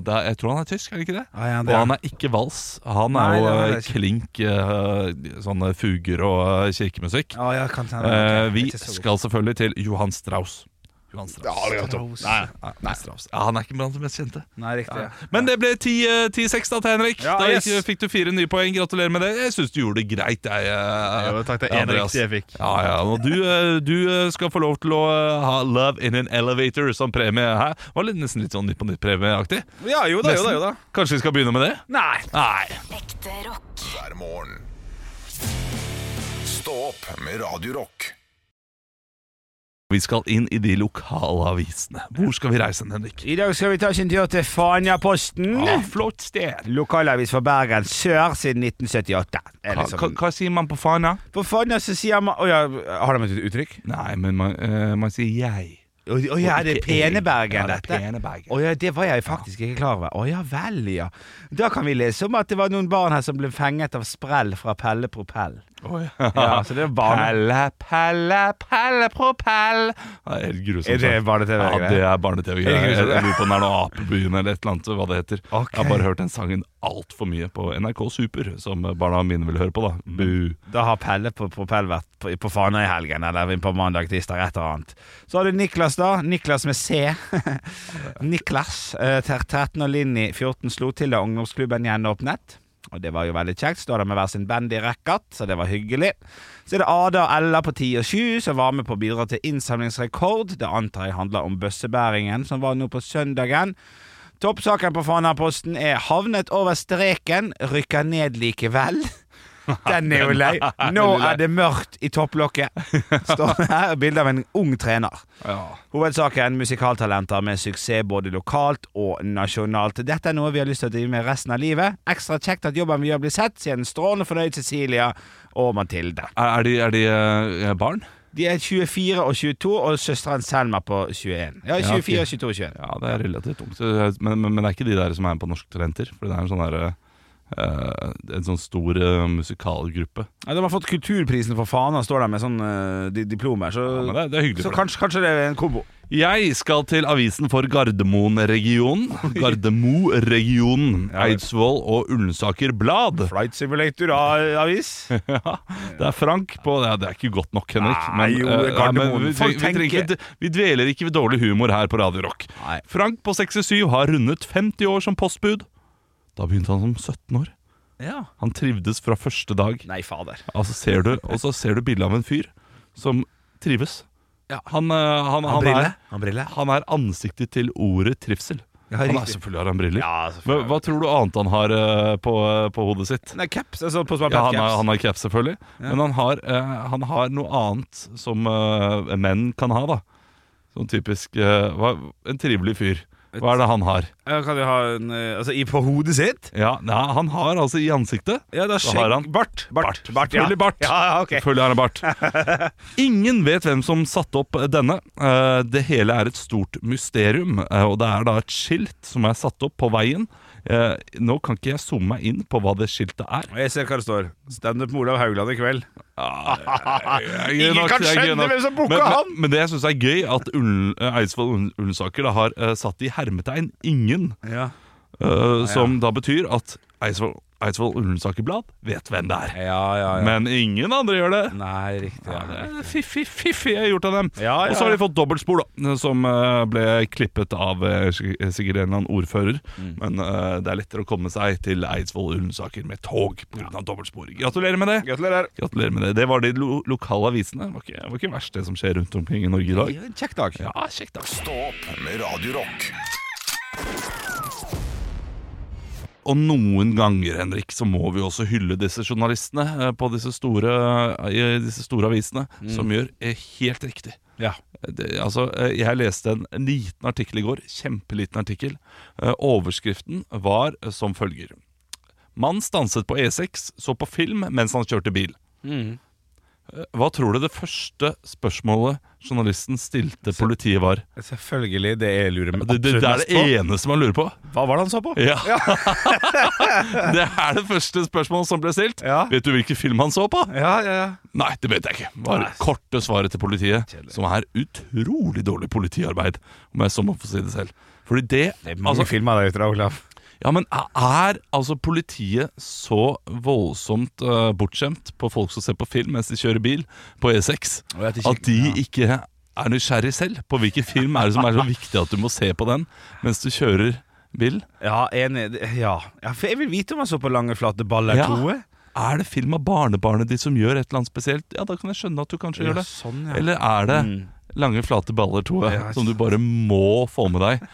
Speaker 3: det er, Jeg tror han er tysk, er det ikke det?
Speaker 5: Ja, ja, det
Speaker 3: Og
Speaker 5: er
Speaker 3: han er ikke vals. Han er
Speaker 5: Nei,
Speaker 3: jo
Speaker 5: det er han
Speaker 3: eh,
Speaker 5: ikke.
Speaker 3: klink eh, sånne fuger og eh, kirkemusikk.
Speaker 5: Ja, ja, kan
Speaker 3: Eh,
Speaker 5: hende.
Speaker 3: vi skal selvfølgelig til Johan Strauss. Johan Strauss.
Speaker 4: Jeg har aldri hørt om.
Speaker 3: Nei, nei, Strauss. Ja, han er ikke blant de mest kjente.
Speaker 2: Nei, riktig. Ja.
Speaker 3: Men det ble 10-6 da til Henrik.
Speaker 2: Ja,
Speaker 3: da
Speaker 2: yes.
Speaker 3: gikk- fikk du fire nye poeng. Gratulerer med det. Jeg syns du gjorde det greit. Jeg, eh,
Speaker 4: Jo, takk, det er en
Speaker 3: Andreas.
Speaker 4: riktig jeg fikk.
Speaker 3: Ja, ja, og du, eh, du eh, skal få lov til å eh, ha 'Love in an Elevator' som premie her. Det Var litt, nesten litt sånn Nytt på nytt-premieaktig.
Speaker 2: ja, jo da, jo da, jo da.
Speaker 3: Kanskje vi skal begynne med det?
Speaker 2: Nei.
Speaker 3: Nei.
Speaker 6: Ekte rock.
Speaker 1: hver morgen. Stå opp med Radio Rock.
Speaker 3: Vi skal inn i de lokale avisene. Hvor skal vi reise, Henrik?
Speaker 2: I dag skal vi ta oss en tur til Fanjaposten.
Speaker 3: Ja, flott sted.
Speaker 2: Lokalavis for Bergen sør siden 1978. Er
Speaker 3: Hva,
Speaker 2: liksom-
Speaker 3: hva, hva sier man på Fana?
Speaker 2: På Fanja så sier man Å ja, har de et uttrykk?
Speaker 3: Nei, men man, eh, man sier jeg.
Speaker 2: Å å ja, det er
Speaker 3: Ikke jeg.
Speaker 2: pene Bergen,
Speaker 3: Ja, det er
Speaker 2: dette.
Speaker 3: pene Bergen.
Speaker 2: Å ja, det var jeg faktisk ikke klar over. Å ja vel, ja. Da kan vi lese om at det var noen barn her som ble fenget av sprell fra Pelle Propell. Ja, så det er barne...
Speaker 3: Pelle, pelle, pelle, propell. Det er helt grusomt.
Speaker 2: Er det barne-TV?
Speaker 3: Ja, det er barne-TV. Jeg, jeg,
Speaker 2: grusomt?
Speaker 3: jeg lurer på om det er noe Apebyen eller et eller annet, hva det heter.
Speaker 2: Ok.
Speaker 3: Jeg har bare hørt den sangen altfor mye på NRK Super, som barna mine vil høre på, da. Bu.
Speaker 2: Da har Pelle på Propell vært på, på Fana i helgen, eller på mandag, tirsdag, et eller annet. Så har du Niklas, da. Niklas med C. Niklas, eh, ter 13 og Linni 14, slo til da ungdomsklubben gjenåpnet. Og det var jo veldig kjekt. Står der med hver sin band i rekkert, så det var hyggelig. Så er det Ada og Ella på 10 og 7 som var med på å bidra til innsamlingsrekord. Det antar jeg handler om bøssebæringen som var nå på søndagen. Toppsaken på Fanaposten er 'Havnet over streken, rykker ned likevel'. Den er jo lei. Nå er det mørkt i topplokket. Står det her bilde av en ung trener. Hovedsaken musikaltalenter med suksess både lokalt og nasjonalt. Dette er noe vi har lyst til å drive med resten av livet. Ekstra kjekt at jobben vi gjør blir sett, sier en strålende fornøyd Cecilia og Mathilde.
Speaker 3: Er, er de, er de eh, barn?
Speaker 2: De er 24 og 22, og søsteren Selma på 21. Ja, 24, 22 og 21.
Speaker 3: Ja, det er relativt ungt. så- eh, Men, men, men det er ikke de der som er med på Norsk Talenter. For det er en sånn derre eh, En sånn stor eh, musikalgruppe.
Speaker 2: Ja, de har fått Kulturprisen for faen, og står der med sånn eh, di- diplomer, så,
Speaker 3: Ja, men det, er- det er hyggelig
Speaker 2: så
Speaker 3: for dem.
Speaker 2: kanskje, kanskje det er en kombo.
Speaker 3: Jeg skal til avisen for Gardermoen-regionen. Gardermo-regionen. Eidsvoll og Ullensaker Blad.
Speaker 2: Flight Simulator-avis.
Speaker 3: Ja, det er Frank på ja, Det er ikke godt nok, Henrik.
Speaker 2: Nei, jo,
Speaker 3: eh,
Speaker 2: Gardermoen.
Speaker 3: vi,
Speaker 2: Folk
Speaker 3: vi, trenger
Speaker 2: tenker-
Speaker 3: ikke- vi dveler ikke ved dårlig humor her på Radio Rock.
Speaker 2: Nei.
Speaker 3: Frank på 67 har rundet 50 år som postbud. Da begynte han som 17 år.
Speaker 2: Ja.
Speaker 3: Han trivdes fra første dag.
Speaker 2: Nei, fader.
Speaker 3: Altså ser du, og så ser du bildet av en fyr som trives.
Speaker 2: Ja.
Speaker 3: Han, eh, han, han, er,
Speaker 2: Han brille.
Speaker 3: han er ansiktet til ordet trivsel.
Speaker 2: Ja,
Speaker 3: han er
Speaker 2: riktig.
Speaker 3: selvfølgelig har han briller.
Speaker 2: Ja,
Speaker 3: Men
Speaker 2: selvfølgelig.
Speaker 3: hva tror du annet han har eh, på, på hodet sitt?
Speaker 2: Nei, caps. Altså på
Speaker 3: Ja,
Speaker 2: smartpad
Speaker 3: han har, han har caps, selvfølgelig. Men han har, eh, han har noe annet som eh, menn kan ha, da. Sånn typisk eh, hva, En trivelig fyr. Hva er det han har?
Speaker 2: Kan du ha en eh, Altså i, på hodet sitt?
Speaker 3: Ja, nei, Han har altså i ansiktet
Speaker 2: Ja, da
Speaker 3: Så har han-
Speaker 2: Bart. Bart. Bart, ja.
Speaker 3: Selvfølgelig bart.
Speaker 2: Ja, ja, ok.
Speaker 3: Selvfølgelig har han bart. Ingen vet hvem som satte opp denne. Eh, Det hele er et stort mysterium, eh, og det er da et skilt som er satt opp på veien. Eh, Nå kan ikke jeg zoome meg inn på hå det skiltet er.
Speaker 2: Og Jeg ser hva det står. Standup med Olav Haugland i kveld.
Speaker 3: Ingen
Speaker 2: kan skjønne hvem som booka
Speaker 3: men,
Speaker 2: han!
Speaker 3: Men, men det jeg syns er gøy, at Ullen, eh, Eidsvoll Ullen- Ullensaker da har eh, satt i hermetegn 'ingen',
Speaker 2: Ja.
Speaker 3: eh, som da betyr at Eidsvoll, Eidsvoll Ullensaker Blad vet hvem det er.
Speaker 2: Ja, ja,
Speaker 3: Men ingen andre gjør det.
Speaker 2: Nei, riktig.
Speaker 3: Ja, det er Fiffig fiffig er gjort av dem.
Speaker 2: Ja, ja,
Speaker 3: Og så har
Speaker 2: ja.
Speaker 3: de fått dobbeltspor, da, som eh, ble klippet av eh, sik- sikkert en eller annen ordfører.
Speaker 2: Mm.
Speaker 3: Men eh, det er lettere å komme seg til Eidsvoll Ullensaker med tog pga. av dobbeltspor. Gratulerer med det!
Speaker 2: Gratulerer.
Speaker 3: Gratulerer med det. Det var de lo lokale avisene. Det var ikke, det var ikke verst, det som skjer rundt omkring i Norge i dag.
Speaker 2: Kjekk dag.
Speaker 3: Ja, kjekt da.
Speaker 1: Stå opp med Radio Rock
Speaker 3: Og noen ganger, Henrik, så må vi også hylle disse journalistene eh, på disse store, eh, i disse store avisene, som gjør eh, helt riktig.
Speaker 2: Ja.
Speaker 3: Det, altså, eh, jeg leste en, en liten artikkel i går, kjempeliten artikkel. Eh, Overskriften var eh, som følger. Mann stanset på E6, så på film mens han kjørte bil. Eh, Hva tror du det første spørsmålet journalisten stilte politiet var?
Speaker 2: Selvfølgelig. Det jeg lurer meg
Speaker 3: Det, det, det er
Speaker 2: mest
Speaker 3: det eneste man lurer på.
Speaker 2: Hva var det han så på?
Speaker 3: Ja. det er det første spørsmålet som ble stilt.
Speaker 2: Ja.
Speaker 3: Vet du hvilken film han så på?
Speaker 2: Ja, ja, ja.
Speaker 3: Nei, det vet jeg ikke. Det var det korte svaret til politiet, som er utrolig dårlig politiarbeid, om jeg så må få si det selv. Fordi det,
Speaker 2: Det er mange
Speaker 3: altså,
Speaker 2: filmer der ute, da, Olav.
Speaker 3: Ja, men er altså politiet så voldsomt eh, bortskjemt på folk som ser på film mens E de kjører bil på E6,
Speaker 2: Å, at de
Speaker 3: at de ikke er nysgjerrig selv på hvilken film er det som er så viktig at du må se på den mens du kjører bil.
Speaker 2: Ja, enig. Det- Ja. ja, for jeg vil vite om han så på lange, flate baller
Speaker 3: Ja.
Speaker 2: to.
Speaker 3: Er det film av barnebarnet ditt som gjør et eller annet spesielt? Ja, da kan jeg skjønne at du kanskje gjør det.
Speaker 2: sånn, ja.
Speaker 3: Eller er det
Speaker 2: Mm.
Speaker 3: lange, flate baller, Toe,
Speaker 2: Ja,
Speaker 3: som du bare må få med deg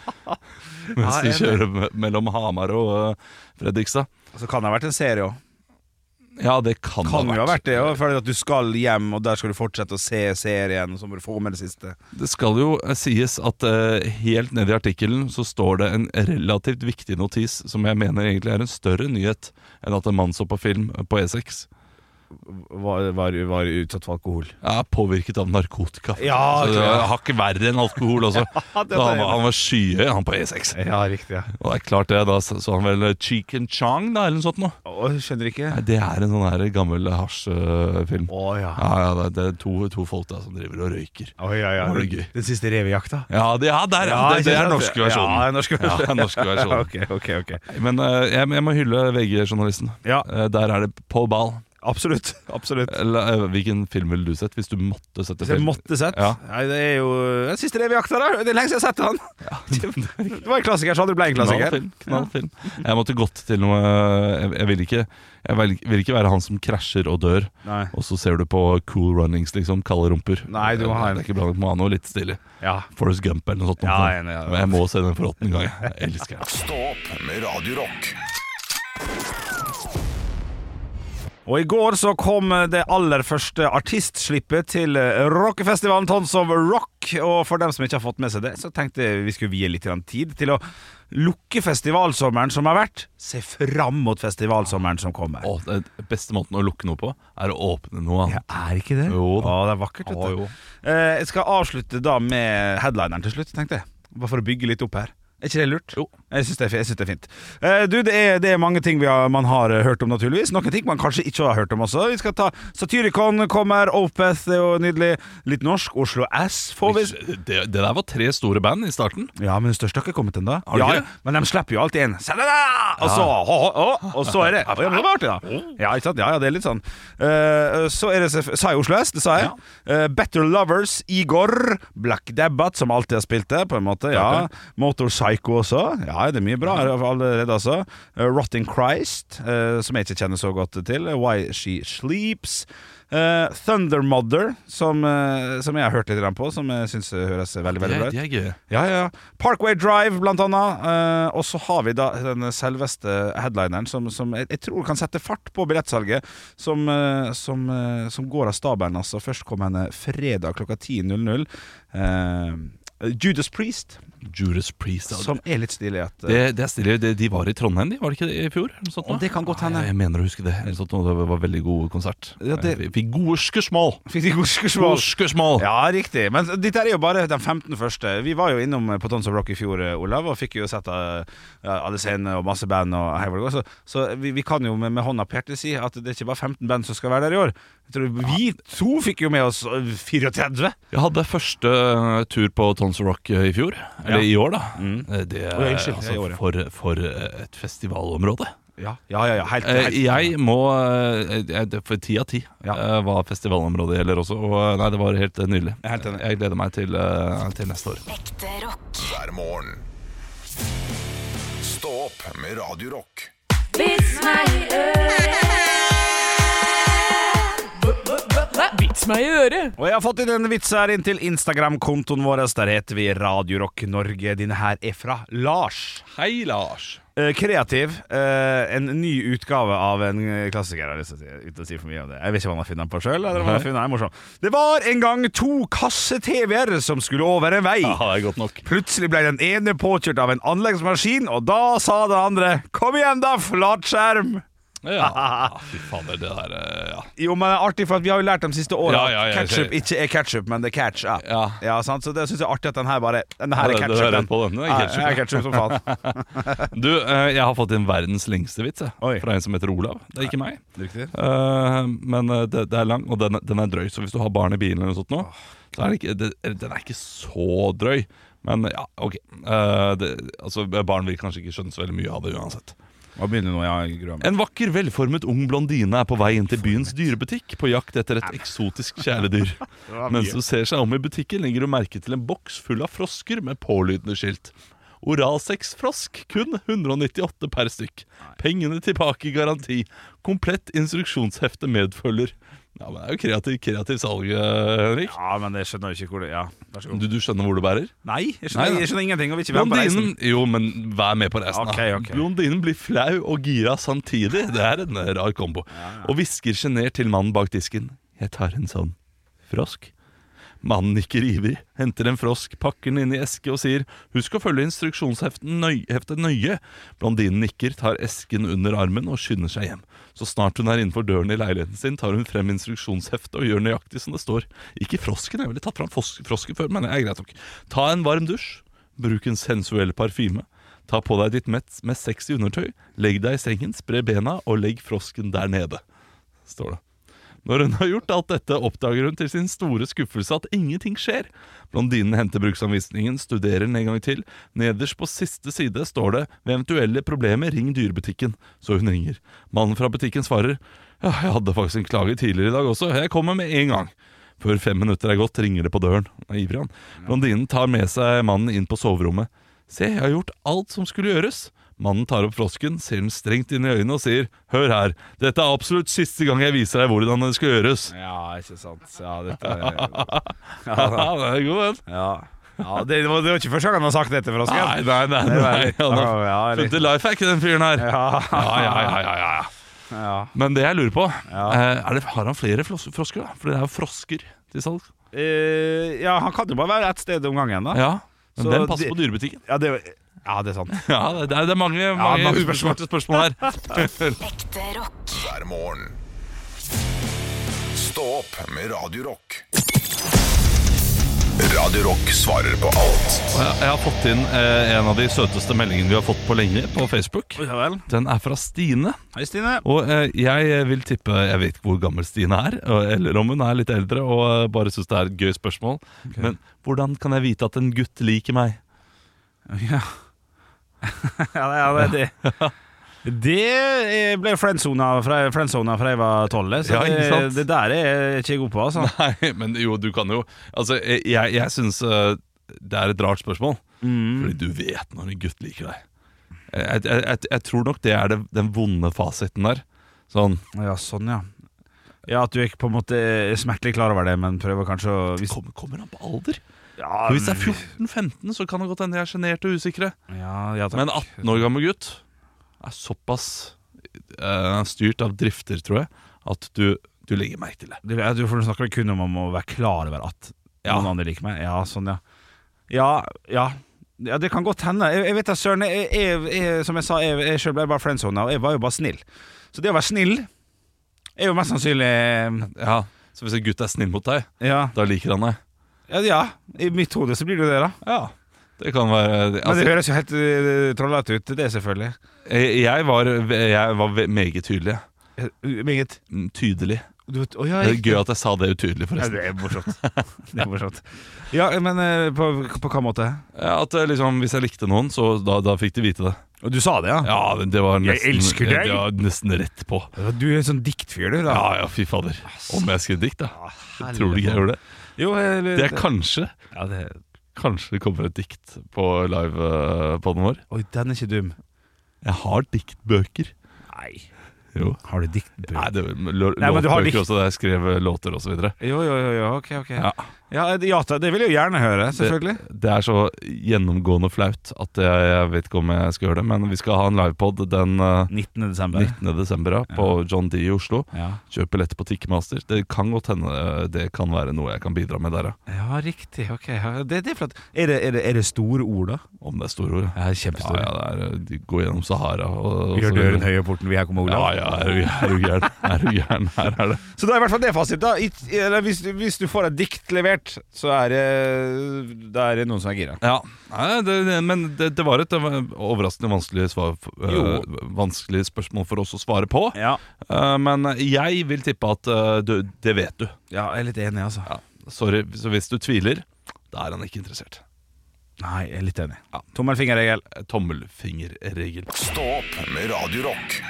Speaker 3: mens
Speaker 2: Ja,
Speaker 3: du
Speaker 2: enig.
Speaker 3: kjører me- mellom Hamar og øh, Fredrikstad?
Speaker 2: Så Altså, kan det ha vært en serie òg.
Speaker 3: Ja, det kan,
Speaker 2: Kan
Speaker 3: det
Speaker 2: jo ha vært det. ja, For at du skal hjem, og der skal du fortsette å se serien, og så må du få med det siste.
Speaker 3: Det skal jo eh, sies at eh, helt nede i artikkelen så står det en relativt viktig notis som jeg mener egentlig er en større nyhet enn at en mann så på film på E E6
Speaker 2: Var, var, var utsatt for alkohol.
Speaker 3: er påvirket av narkotika.
Speaker 2: Ja, det
Speaker 3: så det
Speaker 2: tror jeg.
Speaker 3: var hakket verre enn alkohol også.
Speaker 2: det
Speaker 3: Så
Speaker 2: er
Speaker 3: han,
Speaker 2: det.
Speaker 3: var- han var skyhøy, han på E6.
Speaker 2: Ja, riktig. ja
Speaker 3: Og det er klart det, da så så han vel eh, Cheek and Chong, da, eller noe sånt noe.
Speaker 2: Å, Skjønner ikke.
Speaker 3: Nei, det er en sånn her gammel hasjfilm.
Speaker 2: Å ja.
Speaker 3: Ja, ja, det er- det er to, to folk da som driver og røyker.
Speaker 2: Å, ja, ja.
Speaker 3: Var det gøy?
Speaker 2: Den siste revejakta?
Speaker 3: Ja, det, ja, der, ja,
Speaker 2: Ja,
Speaker 3: det,
Speaker 2: ikke
Speaker 3: det er
Speaker 2: sant?
Speaker 3: norske versjonen.
Speaker 2: Ja, den norske
Speaker 3: Ja, den norske versjonen.
Speaker 2: ok, ok, ok
Speaker 3: Men eh, jeg, jeg må hylle VG-journalisten.
Speaker 2: Ja.
Speaker 3: Eh, der er det på ball.
Speaker 2: Absolutt. absolutt
Speaker 3: Eller, eh, hvilken film ville du sett hvis du måtte sette
Speaker 2: Hvis jeg
Speaker 3: film?
Speaker 2: måtte sett
Speaker 3: Ja.
Speaker 2: Nei, det er jo den siste revejakta, da. Det er lenge siden jeg har sett han. Det var en klassiker, så hadde det ble en klassiker.
Speaker 3: Knallfilm. knallfilm. Jeg måtte gått til noe Jeg, jeg, vil, ikke, jeg vil, vil ikke være han som krasjer og dør,
Speaker 2: Nei.
Speaker 3: og så ser du på Cool Runnings, liksom. Kalde rumper.
Speaker 2: Nei, du må ha en-
Speaker 3: Det er ikke bra nok. Må ha noe litt stilig.
Speaker 2: Ja.
Speaker 3: Forrest Gump eller noe sånt.
Speaker 2: Ja, jeg er enig, ja.
Speaker 3: Men jeg må se den for åttende gang. Jeg elsker den.
Speaker 1: Stå opp med Radio Rock.
Speaker 2: Og i går så kom det aller første artistslippet til eh, rockefestivalen Tons of Rock. Og for dem som ikke har fått med seg det, så tenkte jeg vi skulle vie litt grann tid til å lukke festivalsommeren som har vært. Se fram mot festivalsommeren som kommer.
Speaker 3: Å, det er- beste måten å lukke noe på, er å åpne noe
Speaker 2: Ja,
Speaker 3: annet.
Speaker 2: er ikke det?
Speaker 3: Jo da.
Speaker 2: Å, det er vakkert. vet
Speaker 3: Å,
Speaker 2: du.
Speaker 3: jo.
Speaker 2: Eh, Jeg skal avslutte da med headlineren til slutt, tenkte jeg. Bare for å bygge litt opp her. Er ikke det lurt?
Speaker 3: Jo.
Speaker 2: Jeg syns det, er fi- jeg synes det er fint. Eh, Du, det er, det er mange ting vi har, man har eh, hørt om, naturligvis. Noen ting man kanskje ikke har hørt om også. Vi skal ta Satyricon kommer, Opeth er jo nydelig. Litt norsk. Oslo S får vi.
Speaker 3: Det, det der var tre store band i starten.
Speaker 2: Ja, men den største har ikke kommet ennå.
Speaker 3: Har de
Speaker 2: Ja,
Speaker 3: ikke?
Speaker 2: ja, men de slipper jo alltid en. Se det der! Og så, å, å, å, og så er det Å, ja, men det var artig, da. Ja, ikke sant? Ja, ja, det er litt sånn. Eh, så er det selvf- Sa jeg Oslo S? Det sa jeg. Eh, Better Lovers, Igor, Black Debbat, som alltid har spilt det, på en måte. Ja. Motor Psycho også. Ja, det er mye bra her allerede, altså. Eh, Rotting Christ, eh, som jeg ikke kjenner så godt til. Why She Sleeps. Eh, Thunder Mother, som, eh, som jeg har hørt litt grann på, som jeg syns høres veldig veldig bra ut.
Speaker 3: de er gøye.
Speaker 2: Ja, ja, ja. Parkway Drive, blant annet. Eh, og så har vi da den selveste headlineren som, som jeg, jeg tror kan sette fart på billettsalget, som, eh, som, eh, som går av stabelen altså førstkommende fredag klokka 10.00. Eh, Judas Priest,
Speaker 3: Judas Priest. ja.
Speaker 2: som er litt stilig. At, eh,
Speaker 3: Det, det er stilig. De, de var i Trondheim, de, var det ikke det i fjor? Eller noe sånt,
Speaker 2: Å,
Speaker 3: nå?
Speaker 2: det kan godt hende.
Speaker 3: Nei, Jeg mener å huske det. Eller sånt, nå. det var veldig god konsert.
Speaker 2: Ja, det-
Speaker 3: Vi fikk gode skursmål!
Speaker 2: eh, Fikk de god skursmål?
Speaker 3: Gode skursmål!
Speaker 2: Ja, riktig. Men dette er jo bare den 15 første. Vi var jo innom på Tons of Rock i fjor, eh, Olav, og fikk jo sett eh, alle scenene og masse band. Og hei, hvor det går. Så, så vi, vi kan jo med, med hånda på hjertet si at det er ikke bare 15 band som skal være der i år. Jeg tror Vi to fikk jo med oss eh, 34.
Speaker 3: Jeg hadde første eh, tur på Tons of Rock eh, i fjor. Eller i år, da.
Speaker 2: Mm.
Speaker 3: Eh, Det er
Speaker 2: Å, ja, unnskyld,
Speaker 3: altså,
Speaker 2: i år, ja.
Speaker 3: for, for eh, et festivalområde.
Speaker 2: Ja, ja, ja. ja helt,
Speaker 3: Eh,
Speaker 2: helt.
Speaker 3: Jeg må eh, jeg- det- For ti av ti
Speaker 2: Ja.
Speaker 3: eh, var festivalområdet gjelder også. Og eh, nei, det var helt eh, nydelig.
Speaker 2: er helt enig.
Speaker 3: Jeg gleder meg til, eh, til neste år.
Speaker 6: Ekte rock.
Speaker 1: Hver morgen. Stå opp med Radio Rock.
Speaker 9: Vits meg i øret. Vits meg i øret.
Speaker 2: Og jeg har fått inn en vits her inn til Instagram-kontoen vår. Der heter vi Radiorock Norge. Denne her er fra Lars.
Speaker 3: Hei, Lars.
Speaker 2: Eh, kreativ. Eh, en ny utgave av en eh, klassiker. Jeg har lyst til å si, uten å si for mye om det. Jeg vet ikke hva han har funnet den på sjøl.
Speaker 3: Mhm.
Speaker 2: Det var en gang to kasse-TV-er som skulle over en vei.
Speaker 3: Ja, det er godt nok.
Speaker 2: Plutselig ble den ene påkjørt av en anleggsmaskin, og da sa den andre 'Kom igjen, da, flatskjerm'.
Speaker 3: Ja, Ah, fy fader, det der eh, ja.
Speaker 2: Jo, men det er artig, for at vi har jo lært de siste åra
Speaker 3: Ja, ja, ja,
Speaker 2: at ketchup ikke er ketchup, men det er catch up.
Speaker 3: Ja.
Speaker 2: sant? Så det syns jeg er artig at den her bare Den
Speaker 3: Ja,
Speaker 2: her er
Speaker 3: det- det
Speaker 2: ketchup,
Speaker 3: er rett på den. Den er ketchup.
Speaker 2: Ja, den er ketchup som faen.
Speaker 3: Du, eh, jeg har fått inn verdens lengste vits jeg,
Speaker 2: Oi.
Speaker 3: Fra en som heter Olav, det er ikke meg
Speaker 2: Riktig.
Speaker 3: Eh, Men eh, det, det er lang, og den, den er drøy Så hvis du har barn i bilen eller noe sånt nå Så er det ikke, det, den er ikke så drøy Men ja, ok Eh, det, Altså, barn vil kanskje ikke skjønne så veldig mye av det uansett
Speaker 2: Hva begynner nå? Jeg gruer meg.
Speaker 3: En vakker, velformet ung blondine er på vei inn til byens dyrebutikk på jakt etter et eksotisk kjæledyr. Mens hun ser seg om i butikken, legger hun merke til en boks full av frosker med pålydende skilt. Oralsexfrosk, kun 198 per stykk. Pengene tilbake i garanti. Komplett instruksjonshefte medfølger. Ja, men Det er jo kreativ, kreativ salg, eh, Henrik.
Speaker 2: Ja, men jeg skjønner jo ikke hvor det Ja, vær så god.
Speaker 3: Du, du skjønner hvor det bærer?
Speaker 2: Nei, jeg skjønner,
Speaker 3: Nei, ja.
Speaker 2: jeg skjønner ingenting. Og vil ikke være med på reisen.
Speaker 3: Blondinen Jo, men vær med på reisen. da.
Speaker 2: Ok, ok.
Speaker 3: Blondinen blir flau og gira samtidig. Det er en eh, rar kombo. Og hvisker sjenert til mannen bak disken. Jeg tar en sånn frosk. Mannen nikker ivrig, henter en frosk, pakker den inn i eske og sier Husk å følge instruksjonsheftet nøy heftet nøye. Blondinen nikker, tar esken under armen og skynder seg hjem. Så snart hun er innenfor døren i leiligheten sin, tar hun frem instruksjonsheftet og gjør nøyaktig som det står. Ikke frosken, jeg ville tatt fram fos- frosken før, men det er greit nok. Ta en varm dusj, bruk en sensuell parfyme. Ta på deg ditt mest, mest sexy undertøy, legg deg i sengen, spre bena og legg frosken der nede. Står det. Når hun har gjort alt dette, oppdager hun til sin store skuffelse at ingenting skjer. Blondinen henter bruksanvisningen, studerer den en gang til. Nederst på siste side står det 'Ved eventuelle problemer, ring dyrebutikken', så hun ringer. Mannen fra butikken svarer 'Ja, jeg hadde faktisk en klage tidligere i dag også. Jeg kommer med en gang'. Før fem minutter er gått, ringer det på døren. Det er Ivrig, han. Blondinen tar med seg mannen inn på soverommet. Se, jeg har gjort alt som skulle gjøres. Mannen tar opp frosken, ser den strengt inn i øynene og sier Hør her, dette er absolutt siste gang jeg viser deg hvordan det skal gjøres.
Speaker 2: Ja, ikke sant. Ja, dette er
Speaker 3: Ja, det er god den.
Speaker 2: Ja. ja det, var, det var ikke første gang han har sagt dette for oss.
Speaker 3: Nei, nei, nei.
Speaker 2: Det var
Speaker 3: nei.
Speaker 2: litt-
Speaker 3: Han har
Speaker 2: ja, litt-
Speaker 3: funnet life hack, den fyren her.
Speaker 2: Ja.
Speaker 3: Ja, ja, ja, ja, ja, ja.
Speaker 2: Ja.
Speaker 3: Men det jeg lurer på, eh, er det, har han flere flos frosker? da? For det er jo frosker til salg.
Speaker 2: Eh, ja, han kan jo bare være ett sted om gangen, da.
Speaker 3: Ja, Men
Speaker 2: Så
Speaker 3: den passer
Speaker 2: de-
Speaker 3: på dyrebutikken.
Speaker 2: Ja, det, ja, det er sant.
Speaker 3: Ja, Det det er, det er mange, mange,
Speaker 2: mange spørsmål.
Speaker 3: ubesvarte spørsmål her.
Speaker 6: Ekte rock.
Speaker 1: hver morgen. Stå opp med Radio Rock. Radio Rock svarer på alt
Speaker 3: Og Jeg, jeg har fått inn eh, en av de søteste meldingene vi har fått på lenge på Facebook.
Speaker 2: Ja vel.
Speaker 3: Den er fra Stine.
Speaker 2: Hei, Stine.
Speaker 3: Og eh, jeg vil tippe Jeg vet ikke hvor gammel Stine er, og- eller om hun er litt eldre og eh, bare syns det er et gøy spørsmål. Men hvordan kan jeg vite at en gutt liker meg?
Speaker 2: Ja. ja, det, ja, det, det. det er- ble friendzona fra, friendzona fra jeg var tolv. Så
Speaker 3: Ja, ikke sant?
Speaker 2: det, det der er jeg ikke god på. Altså.
Speaker 3: Nei, men jo, du kan jo Altså, eh, jeg, jeg syns eh, det er et rart spørsmål.
Speaker 2: Mm.
Speaker 3: Fordi du vet når en gutt liker deg. Jeg, jeg, jeg, jeg tror nok det er det, den vonde fasiten der. Sånn
Speaker 2: Ja, sånn, ja. Ja, At du ikke på en måte er smertelig klar over det, men prøver kanskje å hvis,
Speaker 3: Kommer, kommer han på alder?
Speaker 2: ja,
Speaker 3: For Hvis det er 14-15, så kan det godt hende jeg er sjenert og usikre.
Speaker 2: ja, ja, takk.
Speaker 3: Men 18 år gammel gutt er såpass eh, styrt av drifter, tror jeg, at du, du legger merke til det.
Speaker 2: Du, ja, du for du snakker kun om om å være klar over at
Speaker 3: Ja.
Speaker 2: noen andre liker meg. Ja, sånn, ja. Ja, ja. Ja, Det kan godt hende. Jeg, jeg vet da, søren. Jeg, jeg, jeg, som jeg sa, jeg, jeg selv ble bare friendzona, og jeg var jo bare snill. Så det å være snill er jo mest sannsynlig eh,
Speaker 3: Ja, Så hvis en gutt er snill mot deg,
Speaker 2: Ja,
Speaker 3: da liker han deg?
Speaker 2: ja, ja. i mitt hode så blir det jo det, da.
Speaker 3: Ja. Det kan være
Speaker 2: Men det
Speaker 3: altså,
Speaker 2: høres jo helt uh, trollete ut, det, selvfølgelig.
Speaker 3: jeg, jeg var, jeg var ve- meget tydelig.
Speaker 2: Eh, Meget.
Speaker 3: Mm, Tydelig.
Speaker 2: Du vet- Å, ja,
Speaker 3: Det er
Speaker 2: riktig.
Speaker 3: gøy at jeg sa det utydelig,
Speaker 2: Ja,
Speaker 3: forresten.
Speaker 2: det er morsomt. Det er morsomt. Ja, men eh, på, på hva måte?
Speaker 3: Ja, at eh, liksom, Hvis jeg likte noen, så da, da fikk de vite det.
Speaker 2: Og du sa det,
Speaker 3: Ja, men Det var
Speaker 2: Jeg
Speaker 3: nesten,
Speaker 2: elsker deg!
Speaker 3: det var nesten rett på.
Speaker 2: Du er en sånn diktfyr, du. da
Speaker 3: Ja, ja, fy fader. Om jeg skrev dikt, da. Tror du ikke jeg gjorde det?
Speaker 2: Jo, eller,
Speaker 3: Det er kanskje
Speaker 2: ja, det,
Speaker 3: Kanskje det kommer et dikt på live-podden vår.
Speaker 2: Oi, den er ikke dum.
Speaker 3: Jeg har diktbøker.
Speaker 2: Nei.
Speaker 3: Jo.
Speaker 2: Har du diktbøker?
Speaker 3: Nei, det er lå-
Speaker 2: Nei, men du har dikt-
Speaker 3: låtbøker også, der jeg skrev eh, låter osv.
Speaker 2: Jo, jo, jo, jo, ok, ok.
Speaker 3: Ja.
Speaker 2: Ja, det- ja det det vil jeg jo gjerne høre, selvfølgelig.
Speaker 3: Det er så gjennomgående flaut at jeg, jeg vet ikke om jeg skal gjøre det. Men vi skal ha en livepod den eh,
Speaker 2: 19. desember.
Speaker 3: 19. desember ja, på John D i Oslo.
Speaker 2: Ja.
Speaker 3: Kjøp billett på Ticketmaster. Det kan godt hende eh, det kan være noe jeg kan bidra med der, ja.
Speaker 2: ja, riktig. ok ja, det, det er, flott. er, det, er, det, er det store ord, da?
Speaker 3: Om det er store ord.
Speaker 2: Ja, kjempestore.
Speaker 3: Ja, ja, det er, eh, de går gjennom Sahara og, og
Speaker 2: Gjør
Speaker 3: så
Speaker 2: døren
Speaker 3: videre.
Speaker 2: høy og porten, vi her kommer Olav.
Speaker 3: Ja, ja, er du er du gæren? Er du gæren? Her er det.
Speaker 2: Så da er i hvert fall det fasit. da I, eller hvis, du- hvis du får et dikt levert, så er det, da er det noen som er gira.
Speaker 3: Ja, Nei, det, det, men det, det var et det var overraskende vanskelig, svar,
Speaker 2: Jo.
Speaker 3: øh, vanskelig spørsmål for oss å svare på.
Speaker 2: Ja.
Speaker 3: Eh, men jeg vil tippe at øh, du, det vet du.
Speaker 2: ja, jeg er litt enig, altså.
Speaker 3: Sorry, så hvis du tviler, da er han ikke interessert.
Speaker 2: Nei, jeg er litt enig. Tommelfingerregel.
Speaker 3: Tommelfingerregel.
Speaker 1: Stå opp med Radio Rock.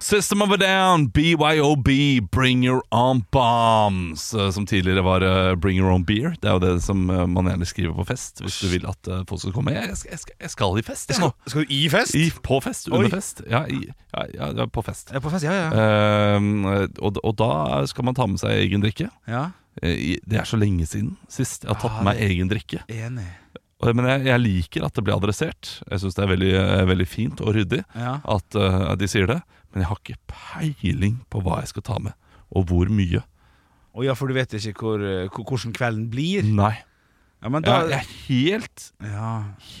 Speaker 3: System of a Down, BYOB, Bring Your Own Bombs. eh, Som tidligere var eh, Bring Your Own Beer. Det er jo det som eh, man gjerne skriver på fest hvis du vil at eh, folk skal komme. Jeg, jeg, skal- jeg, skal- jeg skal i fest, jeg nå.
Speaker 2: Skal du i fest?
Speaker 3: I, på fest, under
Speaker 2: Oi.
Speaker 3: fest. Ja, i, ja, ja, ja, på fest.
Speaker 2: Ja, på fest, ja, ja.
Speaker 3: Ehm, og, og da skal man ta med seg egen drikke.
Speaker 2: ja.
Speaker 3: Eh, i- Det er så lenge siden sist jeg har
Speaker 2: Ah,
Speaker 3: tatt med meg egen drikke.
Speaker 2: Enig.
Speaker 3: Og- Men jeg, jeg liker at det blir adressert. Jeg syns det er veldig, eh, veldig fint og ryddig
Speaker 2: Ja.
Speaker 3: at eh, de sier det. Men jeg har ikke peiling på hva jeg skal ta med, og hvor mye.
Speaker 2: Å ja, for du vet ikke hvor, eh, hvor, hvordan kvelden blir?
Speaker 3: Nei.
Speaker 2: Ja, men da
Speaker 3: Mm. Jeg, jeg er helt
Speaker 2: Ja.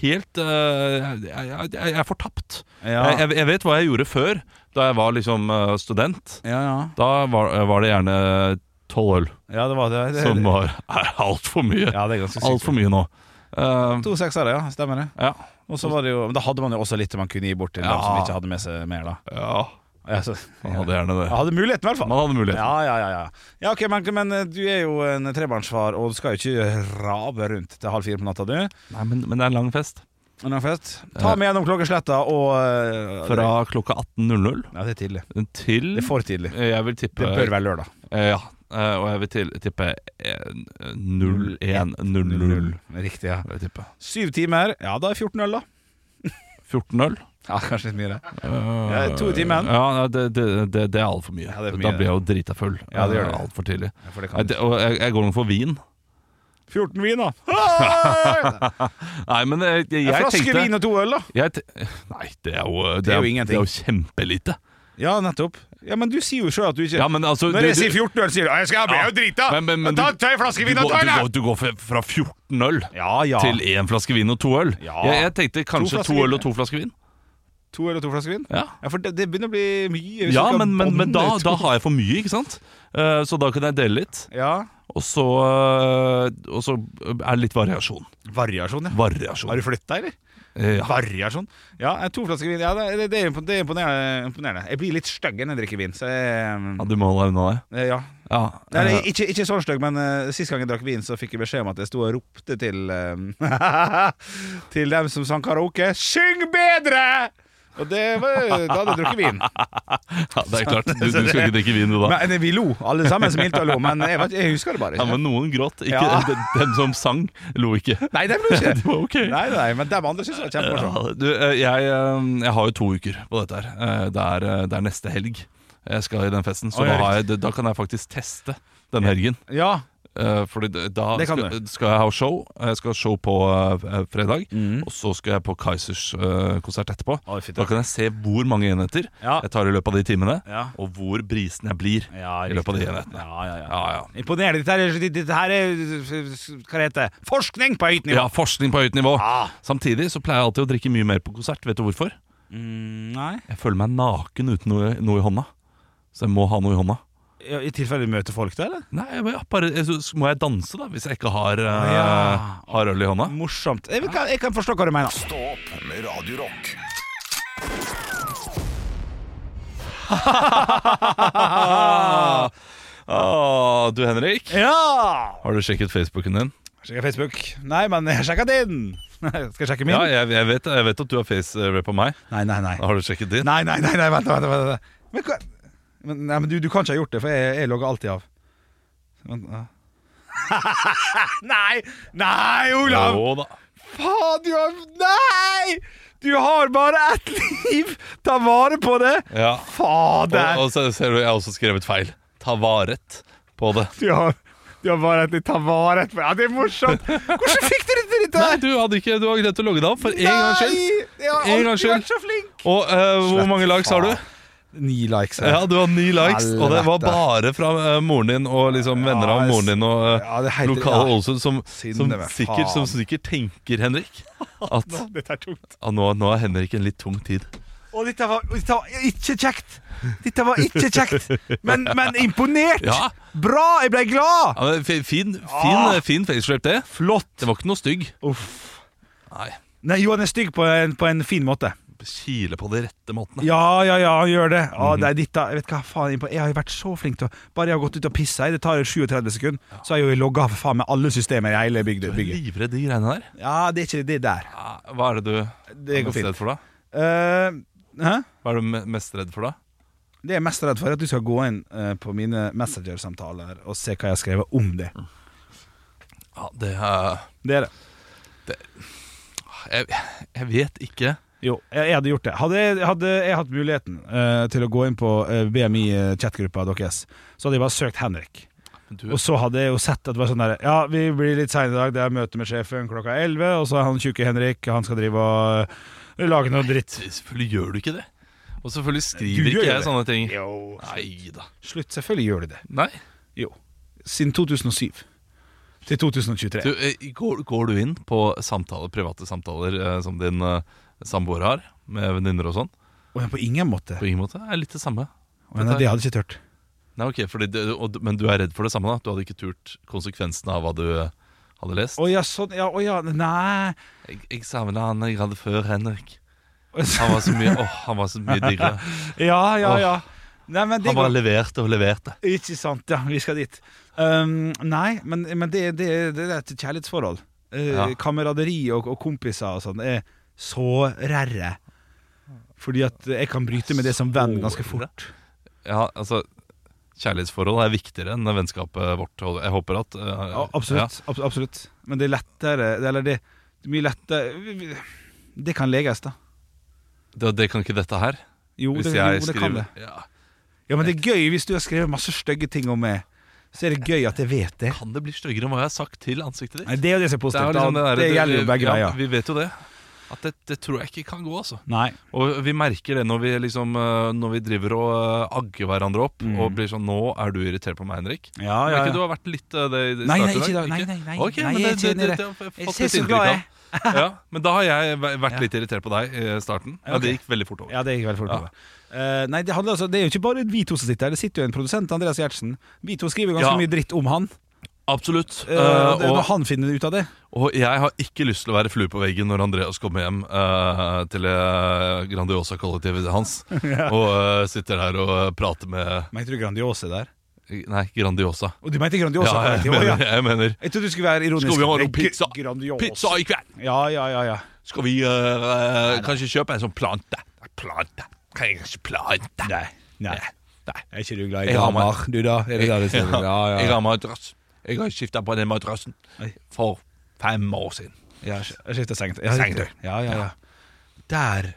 Speaker 3: Helt eh, jeg, jeg, jeg, jeg er fortapt.
Speaker 2: Ja.
Speaker 3: Jeg, jeg, jeg vet hva jeg gjorde før, da jeg var liksom eh, student.
Speaker 2: Ja, ja.
Speaker 3: Da var, var det gjerne tolv øl,
Speaker 2: ja, det var det. det
Speaker 3: som var er altfor mye.
Speaker 2: ja, det er ganske sykt.
Speaker 3: Altfor mye nå. Eh,
Speaker 2: To seksere, ja. Stemmer det.
Speaker 3: ja.
Speaker 2: Og så var det jo Men da hadde man jo også litt man kunne gi bort til dem
Speaker 3: Ja.
Speaker 2: som ikke hadde med seg mer, da.
Speaker 3: ja.
Speaker 2: Ja, så,
Speaker 3: Man hadde gjerne det.
Speaker 2: Jeg hadde muligheten, i hvert fall.
Speaker 3: Man hadde mulighet.
Speaker 2: Ja, ja, ja, ja. ja ok, men, men eh, du er jo en trebarnsfar, og du skal jo ikke rave rundt til halv fire på natta, du.
Speaker 3: Nei, men, men det er en lang fest.
Speaker 2: Men det er fest. Ta med gjennom klokkesletta og eh,
Speaker 3: Fra klokka 18.00
Speaker 2: Ja, det er tidlig.
Speaker 3: til
Speaker 2: Det er for tidlig.
Speaker 3: eh, Jeg vil tippe
Speaker 2: Det bør være lørdag.
Speaker 3: Eh, Ja. Eh, og jeg vil til, tippe eh, 01.00.
Speaker 2: Riktig, ja.
Speaker 3: vil jeg tippe.
Speaker 2: Syv timer. Ja, da er 14 øl, da.
Speaker 3: 14 øl.
Speaker 2: Ja, kanskje litt mye. det.
Speaker 3: Eh,
Speaker 2: Ja, to i timen.
Speaker 3: Ja, nei, det, det, det, det er altfor mye.
Speaker 2: Ja, det er for
Speaker 3: Da
Speaker 2: mye.
Speaker 3: blir jeg jo drita full.
Speaker 2: Ja, det gjør det.
Speaker 3: Altfor tidlig.
Speaker 2: Ja, for det
Speaker 3: Nei,
Speaker 2: kan
Speaker 3: det, og jeg, jeg går nok for vin.
Speaker 2: 14 vin, da.
Speaker 3: Nei, men jeg, jeg,
Speaker 2: En
Speaker 3: jeg
Speaker 2: flaske
Speaker 3: tenkte
Speaker 2: vin og to øl, da.
Speaker 3: jeg te Nei, det er jo Det,
Speaker 2: er jo
Speaker 3: Det
Speaker 2: ingenting.
Speaker 3: er jo kjempelite.
Speaker 2: Ja, nettopp. Ja, Men du sier jo sjøl at du ikke
Speaker 3: Ja, men altså
Speaker 2: Når jeg
Speaker 3: du- du-
Speaker 2: sier 14 øl, sier du «Ja, jeg skal bli jo drita.
Speaker 3: Men- men- men
Speaker 2: ta,
Speaker 3: du-
Speaker 2: ta en flaske vin
Speaker 3: du,
Speaker 2: og
Speaker 3: går,
Speaker 2: ta
Speaker 3: du,
Speaker 2: en,
Speaker 3: går,
Speaker 2: da!
Speaker 3: du går fra- fra 14 øl
Speaker 2: Ja, ja.
Speaker 3: til én flaske vin og to øl.
Speaker 2: Ja.
Speaker 3: Jeg, jeg tenkte kanskje
Speaker 2: flasker
Speaker 3: to,
Speaker 2: vin,
Speaker 3: øl
Speaker 2: ja.
Speaker 3: og to flasker vin.
Speaker 2: To øl og to flasker vin?
Speaker 3: Ja,
Speaker 2: Ja, for det, det begynner å bli mye. hvis
Speaker 3: ja
Speaker 2: du skal
Speaker 3: men, men, men da,
Speaker 2: bonde
Speaker 3: da
Speaker 2: to-
Speaker 3: har jeg for mye, ikke sant? Eh, Så da kan jeg dele litt.
Speaker 2: Ja.
Speaker 3: Og så, eh, og så er det litt variasjon.
Speaker 2: Variasjon, ja.
Speaker 3: Variasjon.
Speaker 2: Har du flytta, eller?
Speaker 3: Eh, ja.
Speaker 2: Variasjon. Ja, eh, to flasker vin. Ja, det, det er impon- det er imponerende. imponerende. Jeg blir litt stygg når jeg drikker vin, så jeg,
Speaker 3: ja, du må holde deg unna det.
Speaker 2: eh, Ja.
Speaker 3: Ja.
Speaker 2: Nei,
Speaker 3: eh,
Speaker 2: nei, ikke, ikke sånn stygg, men uh, sist gang jeg drakk vin, så fikk jeg beskjed om at jeg sto og ropte til eh, Til dem som sang karaoke 'Syng bedre!' Og det var, da hadde jeg drukket vin.
Speaker 3: ja, det er klart. Du, du skal ikke drikke vin, du da.
Speaker 2: Men eh, vi lo, alle sammen smilte og lo, men jeg, vet- jeg husker det bare
Speaker 3: Ja,
Speaker 2: ikke.
Speaker 3: men noen gråt. Ikke
Speaker 2: Ja.
Speaker 3: den, den som sang, lo ikke.
Speaker 2: Nei, det ble ikke
Speaker 3: Det var ok.
Speaker 2: Nei, nei, men dem andre syns jeg var kjempemorsomt.
Speaker 3: Ja, du, eh, jeg, eh, jeg har jo to uker på dette her. Eh, Det er, eh, det er neste helg jeg skal i den festen, så
Speaker 2: Oi,
Speaker 3: da,
Speaker 2: ja,
Speaker 3: har jeg, da kan jeg faktisk teste den helgen.
Speaker 2: Ja.
Speaker 3: Eh, Fordi det- da
Speaker 2: Det kan
Speaker 3: skal, skal jeg ha show. Jeg skal ha show på eh, fredag, og så skal jeg på Kaizers eh, konsert etterpå.
Speaker 2: Mm. Oi, fint,
Speaker 3: da kan jeg se hvor mange enheter
Speaker 2: Ja.
Speaker 3: jeg tar i løpet av de timene,
Speaker 2: Ja.
Speaker 3: og hvor brisen jeg blir i løpet av de enhetene.
Speaker 2: Ja, ja, ja.
Speaker 3: Ja, ja.
Speaker 2: Imponerende. Dette her, er- dette her er Hva heter det? Forskning på høyt nivå!
Speaker 3: Ja, forskning på høyt nivå.
Speaker 2: Ah.
Speaker 3: Samtidig så pleier jeg alltid å drikke mye mer på konsert. Vet du hvorfor?
Speaker 2: Mm, nei.
Speaker 3: Jeg føler meg naken uten noe, noe i hånda. Så jeg må ha noe i hånda.
Speaker 2: Ja, I tilfelle vi møter folk, da? eller?
Speaker 3: Nei, jeg må- ja, bare, jeg, så må jeg danse, da, hvis jeg ikke har, eh,
Speaker 2: ja.
Speaker 3: har øl i hånda?
Speaker 2: Morsomt. Jeg, kan, jeg kan forstå hva du mener.
Speaker 1: Stå opp med Radio Rock.
Speaker 3: Ah, du, Henrik,
Speaker 2: Ja!
Speaker 3: har du sjekket Facebooken din?
Speaker 2: Sjekka Facebook. Nei, men jeg sjekka din! Skal jeg sjekke min?
Speaker 3: Ja, jeg, jeg, vet, jeg vet at du har face-rap på meg.
Speaker 2: Nei, nei, nei.
Speaker 3: Har du sjekket din?
Speaker 2: Nei, nei, nei, nei vent, vent, vent, vent. Men, hva? Men, nei, men du, du kan ikke ha gjort det, for jeg, jeg logger alltid av. Vent, ja. nei! Nei, Olav!
Speaker 3: Jo da.
Speaker 2: Faen, du har Nei! Du har bare ett liv! Ta vare på det!
Speaker 3: Ja. Og,
Speaker 2: Fader!
Speaker 3: og så ser du, jeg har også skrevet feil. Ta varet på det.
Speaker 2: Du har, du har bare ett liv. Ta vare på Ja, det er morsomt! Hvordan fikk dere til dette?
Speaker 3: Nei,
Speaker 2: her?
Speaker 3: du hadde ikke Du har glemt å logge deg opp for en gangs skyld.
Speaker 2: Nei, Jeg har
Speaker 3: En gang
Speaker 2: alltid
Speaker 3: skyld.
Speaker 2: vært så flink!
Speaker 3: Og eh, hvor mange likes har du?
Speaker 2: Ni likes.
Speaker 3: Ja, du har ni likes, og det var
Speaker 2: Helvete.
Speaker 3: bare fra eh, moren din og liksom venner av
Speaker 2: jeg s-
Speaker 3: moren din og eh,
Speaker 2: Ja, det er helt-
Speaker 3: lokale
Speaker 2: ja.
Speaker 3: Ålesund som, som,
Speaker 2: Sinne, hva
Speaker 3: sikkert- som
Speaker 2: faen.
Speaker 3: sikkert tenker, Henrik, at
Speaker 2: Dette er tungt.
Speaker 3: ah, nå, nå er Henrik en litt tung tid.
Speaker 2: Og dette var, dette var ikke kjekt. Dette var ikke kjekt, men, men imponert.
Speaker 3: Ja.
Speaker 2: Bra, jeg ble glad.
Speaker 3: Ja, men fi- Fin, fin,
Speaker 2: Ah.
Speaker 3: eh, fin faceshape, det.
Speaker 2: Flott.
Speaker 3: Det var ikke noe stygg.
Speaker 2: Uff.
Speaker 3: Nei.
Speaker 2: Nei, jo, han er stygg på en, på en fin måte.
Speaker 3: kile på de rette måtene.
Speaker 2: Ja, ja, ja, han gjør det. Å, det er ditt, da. Jeg vet hva faen jeg er på. Jeg har jo vært så flink til å Bare jeg har gått ut og pissa i, det tar 37 sekunder, så har jeg jo logga for faen meg alle systemer i hele bygget. bygget.
Speaker 3: Livredd de greiene der.
Speaker 2: Ja, det er ikke det der.
Speaker 3: Ja, Hva er det du
Speaker 2: Det
Speaker 3: er
Speaker 2: går
Speaker 3: mest
Speaker 2: fint.
Speaker 3: redd for, da?
Speaker 2: Eh, hæ?
Speaker 3: Hva er du me- mest redd for, da?
Speaker 2: Det jeg er mest redd for, er at du skal gå inn eh, på mine Messenger-samtaler og se hva jeg har skrevet om det.
Speaker 3: Ja, det er
Speaker 2: Det er det.
Speaker 3: jeg, jeg vet ikke.
Speaker 2: Jo, jeg, jeg hadde gjort det. Hadde, jeg- hadde jeg hatt muligheten eh, til å gå inn på eh, BMI-chatgruppa deres, så hadde jeg bare søkt Henrik.
Speaker 3: Men Du,
Speaker 2: Og så hadde jeg jo sett at det var sånn der Ja, vi blir litt seine i dag, det er møte med sjefen klokka 11, og så er han tjukke Henrik, han skal drive og øh, lage noe dritt.
Speaker 3: selvfølgelig gjør du ikke det. Og selvfølgelig
Speaker 2: Du
Speaker 3: skriver
Speaker 2: gjør
Speaker 3: ikke
Speaker 2: jo
Speaker 3: jeg
Speaker 2: det.
Speaker 3: sånne ting.
Speaker 2: Jo.
Speaker 3: Nei da.
Speaker 2: Slutt, selvfølgelig gjør du det.
Speaker 3: Nei.
Speaker 2: Jo. Siden 2007 til 2023.
Speaker 3: Du, eh, går, går du inn på samtaler, private samtaler eh, som din eh, samboer har, med venninner og sånn?
Speaker 2: Og jeg på ingen måte.
Speaker 3: På ingen måte? Det er litt det samme.
Speaker 2: Men det hadde jeg ikke turt.
Speaker 3: Nei, ok, fordi det, og, Men du er redd for det samme, da? Du hadde ikke turt konsekvensene av hva du eh, hadde lest?
Speaker 2: Å ja, sånn, ja, å ja, nei
Speaker 3: Jeg, jeg savna han jeg hadde før, Henrik.
Speaker 2: Å, så-
Speaker 3: Han var så mye, åh, han var så mye diggere.
Speaker 2: Ja, ja, ja. Nei, men det
Speaker 3: Han bare
Speaker 2: går
Speaker 3: leverte og leverte.
Speaker 2: Ikke sant, ja. Vi skal dit. Um, nei, men, men det, det, det er et kjærlighetsforhold. Eh,
Speaker 3: Ja.
Speaker 2: Kameraderi og, og kompiser og sånn er så rare. Fordi at jeg kan bryte med det som venn ganske fort.
Speaker 3: Ja, altså Kjærlighetsforhold er viktigere enn vennskapet vårt. og Jeg håper at eh,
Speaker 2: Ja, absolutt. abs- absolutt. Men det er lettere Eller det er mye lettere Det kan leges, da.
Speaker 3: ja, det, det kan ikke dette her.
Speaker 2: Jo, det, jo, det kan det.
Speaker 3: Ja,
Speaker 2: Ja, Men det er gøy hvis du har skrevet masse stygge ting om meg. Så er det gøy at jeg vet det.
Speaker 3: Kan det bli styggere enn hva jeg har sagt til ansiktet ditt?
Speaker 2: Nei, Det er jo det som er
Speaker 3: Det er
Speaker 2: positivt. da.
Speaker 3: liksom den der-
Speaker 2: det, gjelder jo begge
Speaker 3: ja,
Speaker 2: veier.
Speaker 3: Vi vet jo det. At det, det tror jeg ikke kan gå, altså.
Speaker 2: Nei.
Speaker 3: Og vi merker det når vi, liksom, eh, når vi driver og eh, agger hverandre opp og blir sånn 'Nå er du irritert på meg, Henrik'.
Speaker 2: Mm. Ja,
Speaker 3: Men
Speaker 2: ja,
Speaker 3: ikke
Speaker 2: ja.
Speaker 3: du har vært litt eh, det i
Speaker 2: Nei, nei,
Speaker 3: starten i
Speaker 2: ikke
Speaker 3: dag?
Speaker 2: da. Nei,
Speaker 3: Ikke?
Speaker 2: nei, nei.
Speaker 3: Ok,
Speaker 2: Nei, jeg
Speaker 3: men det, det,
Speaker 2: kjenner
Speaker 3: det,
Speaker 2: det.
Speaker 3: det har jeg
Speaker 2: Jeg
Speaker 3: fått
Speaker 2: ser
Speaker 3: litt
Speaker 2: så
Speaker 3: inntrykk
Speaker 2: glad
Speaker 3: av. Ja, men da har jeg væ- vært litt irritert på deg i starten. Men
Speaker 2: ok.
Speaker 3: det gikk veldig fort over.
Speaker 2: Ja, det gikk veldig fort over. Eh, nei, det, handler altså, det er jo ikke bare vi to som sitter her. Det sitter jo en produsent, Andreas Gjertsen. Vi to skriver ganske
Speaker 3: Ja.
Speaker 2: mye dritt om han.
Speaker 3: Absolutt.
Speaker 2: Eh,
Speaker 3: Eh,
Speaker 2: det, er når
Speaker 3: og,
Speaker 2: han finner ut av det
Speaker 3: og jeg har ikke lyst til å være flue på veggen når Andreas kommer hjem eh, til eh, Grandiosa-kollektivet hans og eh, sitter der og eh, prater med
Speaker 2: Mente du Grandiose der?
Speaker 3: Nei, Grandiosa.
Speaker 2: Og du mente Grandiosa?
Speaker 3: Ja, jeg
Speaker 2: jeg, ja.
Speaker 3: mener, jeg mener
Speaker 2: jeg trodde du skulle være ironisk.
Speaker 3: Skal vi ha
Speaker 2: Det er
Speaker 3: noe pizza?
Speaker 2: gr- Grandiose.
Speaker 3: Pizza i kveld!
Speaker 2: Ja, ja, ja, ja.
Speaker 3: Skal vi eh, kanskje kjøpe en sånn plante? Plante? Kan jeg ikke plante?
Speaker 2: Nei. Nei.
Speaker 3: Nei.
Speaker 2: Er ikke du glad i
Speaker 3: Jeg har meg.
Speaker 2: damer, du da? Er det der du sier? Ja, ja.
Speaker 3: Jeg har madrass. Jeg har skifta på den madrassen
Speaker 2: Oi.
Speaker 3: for fem år siden.
Speaker 2: Ja, Jeg skifter sengetøy. Ja,
Speaker 3: Sengetøy.
Speaker 2: riktig. Ja, ja, ja. Der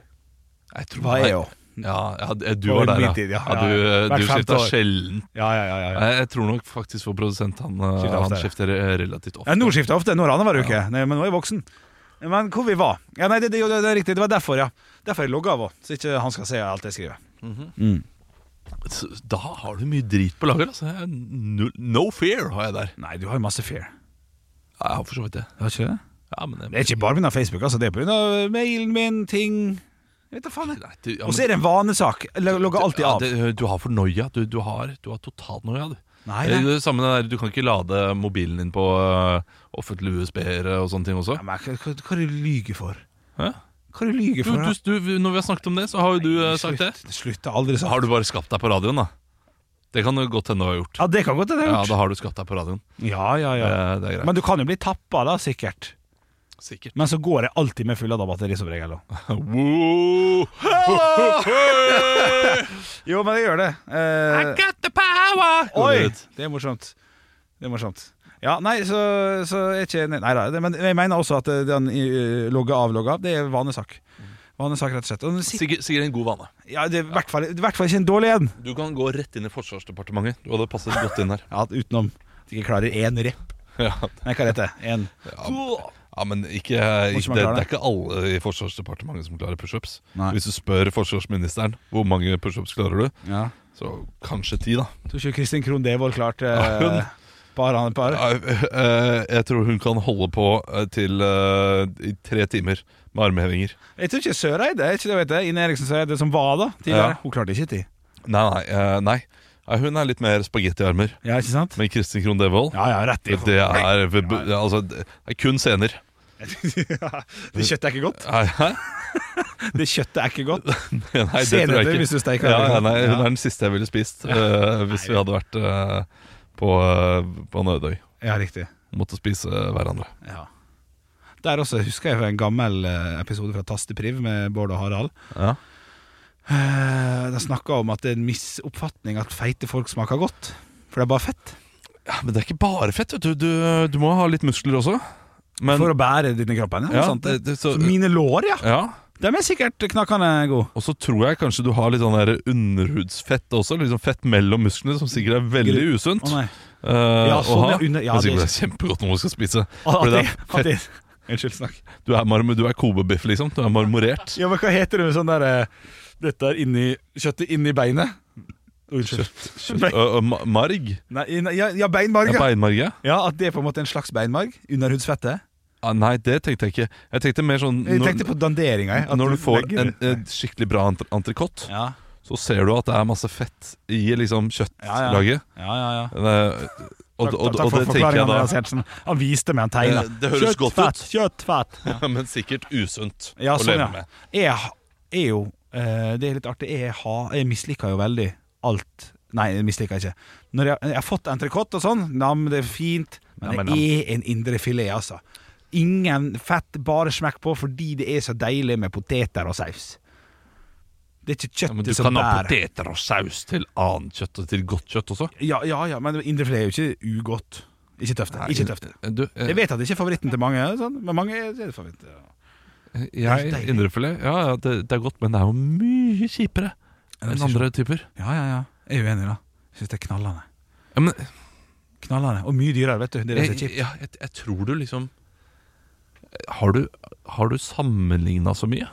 Speaker 3: Jeg tror
Speaker 2: var jeg jo.
Speaker 3: Ja, ja, d- du
Speaker 2: På
Speaker 3: var der,
Speaker 2: min
Speaker 3: ja.
Speaker 2: tid, ja.
Speaker 3: ja
Speaker 2: Ja,
Speaker 3: du
Speaker 2: ja.
Speaker 3: eh, du
Speaker 2: Hvert femte
Speaker 3: skifta
Speaker 2: år.
Speaker 3: sjelden.
Speaker 2: Ja, ja, ja. ja, ja.
Speaker 3: Jeg, jeg tror nok faktisk vår produsent han, eh,
Speaker 2: Skifter
Speaker 3: han
Speaker 2: oftere.
Speaker 3: skifter eh, relativt ofte.
Speaker 2: Ja, nå skifter jeg ofte, nå er det annenhver uke. Nei, men nå er jeg voksen. Men hvor vi var? Ja, nei, det, det, det, det er riktig, det var derfor, ja. Derfor jeg logga av òg, så ikke han skal se alt jeg skriver.
Speaker 3: S- Da har du mye drit på lager. Altså. Jeg- No, no fear har jeg der.
Speaker 2: Nei, du har jo masse fear.
Speaker 3: Ja, Jeg har for så vidt det.
Speaker 2: Det er ikke det?
Speaker 3: Ja, men, eh,
Speaker 2: Det er ikke bare pga. Facebook, altså. Det er pga. mailen min, ting Jeg vet da faen. jeg.
Speaker 3: Nei, du, ja,
Speaker 2: Og så
Speaker 3: men-
Speaker 2: er det en vanesak. Jeg Logger alltid
Speaker 3: Ja,
Speaker 2: av.
Speaker 3: det- eh, du har for noia. Du, du har, du har totalt noia, du.
Speaker 2: Nei,
Speaker 3: Det er
Speaker 2: nei.
Speaker 3: det samme der, Du kan ikke lade mobilen din på eh, offentlige USB-er og sånne ting også.
Speaker 2: Ja, men hva, hva, hva er det du lyver for?
Speaker 3: Hæ?
Speaker 2: Hva er det du lyver
Speaker 3: Du,
Speaker 2: for? da?
Speaker 3: du, du, når vi har snakket om det, så har jo du eh, sagt det.
Speaker 2: Slutt, det slutter aldri
Speaker 3: Så
Speaker 2: sånn.
Speaker 3: har du bare skapt deg på radioen, da. Det kan jo godt hende du har gjort.
Speaker 2: Ja, det kan godt hende jeg
Speaker 3: Ja,
Speaker 2: har
Speaker 3: da
Speaker 2: gjort.
Speaker 3: har du skapt deg på radioen.
Speaker 2: Ja, ja, ja.
Speaker 3: Eh, Det er greit.
Speaker 2: Men du kan jo bli tappa, da, sikkert.
Speaker 3: Sikkert.
Speaker 2: Men så går jeg alltid med full av batteri, som regel. da.
Speaker 3: Woo!
Speaker 2: Jo, men jeg gjør det. Eh,
Speaker 3: I got the power! Går
Speaker 2: Oi!
Speaker 3: det ut.
Speaker 2: Det er morsomt. Det er morsomt. Ja, nei, så, så jeg er ikke enig. Nei da. det- Men jeg mener også at eh, den eh, logge av, logge av, det er vanesak. Vanesak, rett og slett. Og den sit-
Speaker 3: Sikkert, sikkert en god vane.
Speaker 2: ja, det er i hvert fall i hvert fall ikke en dårlig en.
Speaker 3: Du kan gå rett inn i Forsvarsdepartementet. Du hadde passet godt inn der.
Speaker 2: Ja, utenom at jeg ikke klarer én rep.
Speaker 3: Ja,
Speaker 2: Nei, hva heter det? En.
Speaker 3: ja men ikke,
Speaker 2: Hvordan
Speaker 3: ikke
Speaker 2: man
Speaker 3: det,
Speaker 2: klarer
Speaker 3: det
Speaker 2: det?
Speaker 3: er ikke alle i Forsvarsdepartementet som klarer pushups.
Speaker 2: Nei.
Speaker 3: Hvis du spør forsvarsministeren hvor mange pushups klarer du,
Speaker 2: Ja.
Speaker 3: så kanskje ti, da.
Speaker 2: Tror ikke Kristin Krohn Devold klarte
Speaker 3: hun-
Speaker 2: eh, par annet par.
Speaker 3: Ja, eh, eh, Jeg tror hun kan holde på eh, til eh, i tre timer med armhevinger.
Speaker 2: Jeg tror ikke Søreide, ikke det, vet jeg. Ine Eriksen Søreide, som var da tidligere,
Speaker 3: Ja.
Speaker 2: hun klarte ikke ti.
Speaker 3: Nei, nei. eh, nei. Eh, Hun er litt mer spagettiarmer.
Speaker 2: Ja, ikke sant?
Speaker 3: Men Kristin Krohn Devold
Speaker 2: Ja, ja, rett i.
Speaker 3: det er, altså, det er kun scener.
Speaker 2: De kjøttet er ikke godt.
Speaker 3: Nei, hæ?
Speaker 2: Det kjøttet er ikke godt.
Speaker 3: Nei, det
Speaker 2: Senere,
Speaker 3: tror jeg ikke.
Speaker 2: hvis du steiker
Speaker 3: ja,
Speaker 2: den.
Speaker 3: ja, nei, Hun
Speaker 2: Ja.
Speaker 3: er den siste jeg ville spist eh, hvis vi hadde vært eh, på, eh, på Nødøy.
Speaker 2: Ja, riktig.
Speaker 3: Måtte spise hverandre.
Speaker 2: Ja. Der også husker jeg fra en gammel eh, episode fra Tastepriv med Bård og Harald.
Speaker 3: Ja.
Speaker 2: Eh, De snakka om at det er en misoppfatning at feite folk smaker godt. For det er bare fett.
Speaker 3: Men det er ikke bare fett. vet Du, du, du må ha litt muskler også. Men,
Speaker 2: for å bære denne kroppen. Ja,
Speaker 3: ja,
Speaker 2: sant det?
Speaker 3: det- det- så,
Speaker 2: Så mine lår, ja.
Speaker 3: ja.
Speaker 2: De er sikkert knakende gode.
Speaker 3: Og så tror jeg kanskje du har litt sånn der underhudsfett også. Liksom fett mellom musklene, som sikkert er veldig
Speaker 2: Gru-
Speaker 3: usunt.
Speaker 2: Å nei.
Speaker 3: eh,
Speaker 2: Ja,
Speaker 3: å
Speaker 2: sånn,
Speaker 3: ha.
Speaker 2: ja, under- ja,
Speaker 3: Men sikkert det
Speaker 2: det-
Speaker 3: er kjempegodt når man skal spise.
Speaker 2: At
Speaker 3: Fordi det
Speaker 2: det,
Speaker 3: er
Speaker 2: at
Speaker 3: fett.
Speaker 2: det, unnskyld, snakk.
Speaker 3: Du er, marm- du er kobebiff, liksom. Du er marmorert.
Speaker 2: Ja, men hva heter det med sånn derre Dette er inni kjøttet inni beinet? Unnskyld. Bein-
Speaker 3: Ø- ø, ma- marg.
Speaker 2: Nei, nei, ja, ja,
Speaker 3: Ja,
Speaker 2: beinmarg. Ja.
Speaker 3: beinmarg, ja.
Speaker 2: ja, At det er på en måte en slags beinmarg? Underhudsfette?
Speaker 3: Ah, Nei, det tenkte jeg ikke. Jeg tenkte mer sånn
Speaker 2: Jeg
Speaker 3: når-
Speaker 2: tenkte på danderinga. jeg, at
Speaker 3: Når du får
Speaker 2: legger-
Speaker 3: en, eh, en skikkelig bra ant- entrecôte,
Speaker 2: ja.
Speaker 3: så ser du at det er masse fett i liksom kjøttlaget.
Speaker 2: ja, ja, ja.
Speaker 3: Eh, Og, og, og,
Speaker 2: Takk for
Speaker 3: det tenker
Speaker 2: forklaringen,
Speaker 3: jeg
Speaker 2: Andreas
Speaker 3: da
Speaker 2: Gjertsen. Han viste meg en tegne.
Speaker 3: Eh, det høres godt ut.
Speaker 2: Kjøttfett, kjøttfett. Ja,
Speaker 3: Men sikkert usunt
Speaker 2: ja
Speaker 3: å
Speaker 2: sånn,
Speaker 3: leve
Speaker 2: ja.
Speaker 3: med.
Speaker 2: Jeg ha- er jo eh, Det er litt artig. Jeg, har, jeg misliker jo veldig alt. Nei, jeg misliker ikke. Når jeg, jeg har fått entrecôte og sånn, nam, det er fint, men
Speaker 3: Nam,
Speaker 2: det er en indre filet, altså. Ingen fett, bare smekk på, fordi det er så deilig med poteter og saus. Det er ikke
Speaker 3: Ja, men du
Speaker 2: kjøttet som
Speaker 3: kan ha
Speaker 2: bærer.
Speaker 3: poteter og saus til annet kjøtt og til godt kjøtt også.
Speaker 2: Ja, ja, ja, men indre filet er jo ikke ugodt. Ikke tøft. det. Ikke tøft. det.
Speaker 3: Du, eh,
Speaker 2: Jeg vet at det ikke er favoritten til mange, sånn, men mange er det favoritt. Ja.
Speaker 3: eh, jeg,
Speaker 2: deilig.
Speaker 3: indrefilet Ja, ja det, det er godt, men det er jo mye kjipere enn andre typer.
Speaker 2: ja, ja, ja. Jeg er uenig, da. Jeg syns det er knallende.
Speaker 3: Ja, men
Speaker 2: Knallende. Og mye dyrere, vet du. Det er det som
Speaker 3: jeg,
Speaker 2: er kjipt.
Speaker 3: ja, jeg, jeg tror du liksom Har du, har du sammenligna så mye?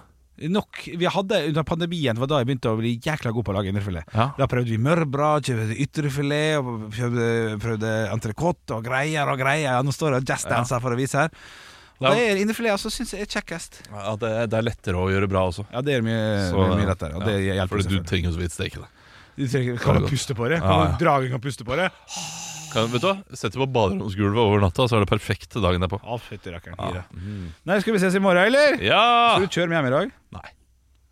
Speaker 2: Nok. Vi hadde under pandemien, det var da jeg begynte å bli jækla god på å lage indrefilet.
Speaker 3: Ja.
Speaker 2: Da prøvde vi mørbra, kjøpte ytrefilet, og prøvde, prøvde entrecôte og greier og greier. Ja, Nå står det og jazzdanser for å vise her. Og
Speaker 3: Ja.
Speaker 2: det er indrefilet altså, syns jeg er kjekkest.
Speaker 3: Ja, det, det er lettere å gjøre bra også.
Speaker 2: Ja, det er mye,
Speaker 3: Så,
Speaker 2: mye lettere, og det
Speaker 3: ja,
Speaker 2: hjelper
Speaker 3: Fordi du
Speaker 2: selvfølgelig.
Speaker 3: trenger jo så vidt steke det.
Speaker 2: Du trenger- Kan du puste på det?
Speaker 3: Ja,
Speaker 2: Kan
Speaker 3: ja.
Speaker 2: du, dragen kan puste på det?
Speaker 3: Kan, vet du hva? Sett det på baderomsgulvet over natta, så er det perfekt til dagen derpå.
Speaker 2: Å, fytti rakkeren. Fire. Nei, skal vi ses i morgen, eller?
Speaker 3: Ja!
Speaker 2: Skal du kjøre med hjem i dag?
Speaker 3: Nei.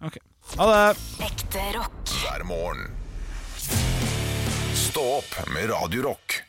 Speaker 2: Ok. Ha det!
Speaker 6: Ekte rock.
Speaker 1: hver morgen. Stå opp med Radio Rock.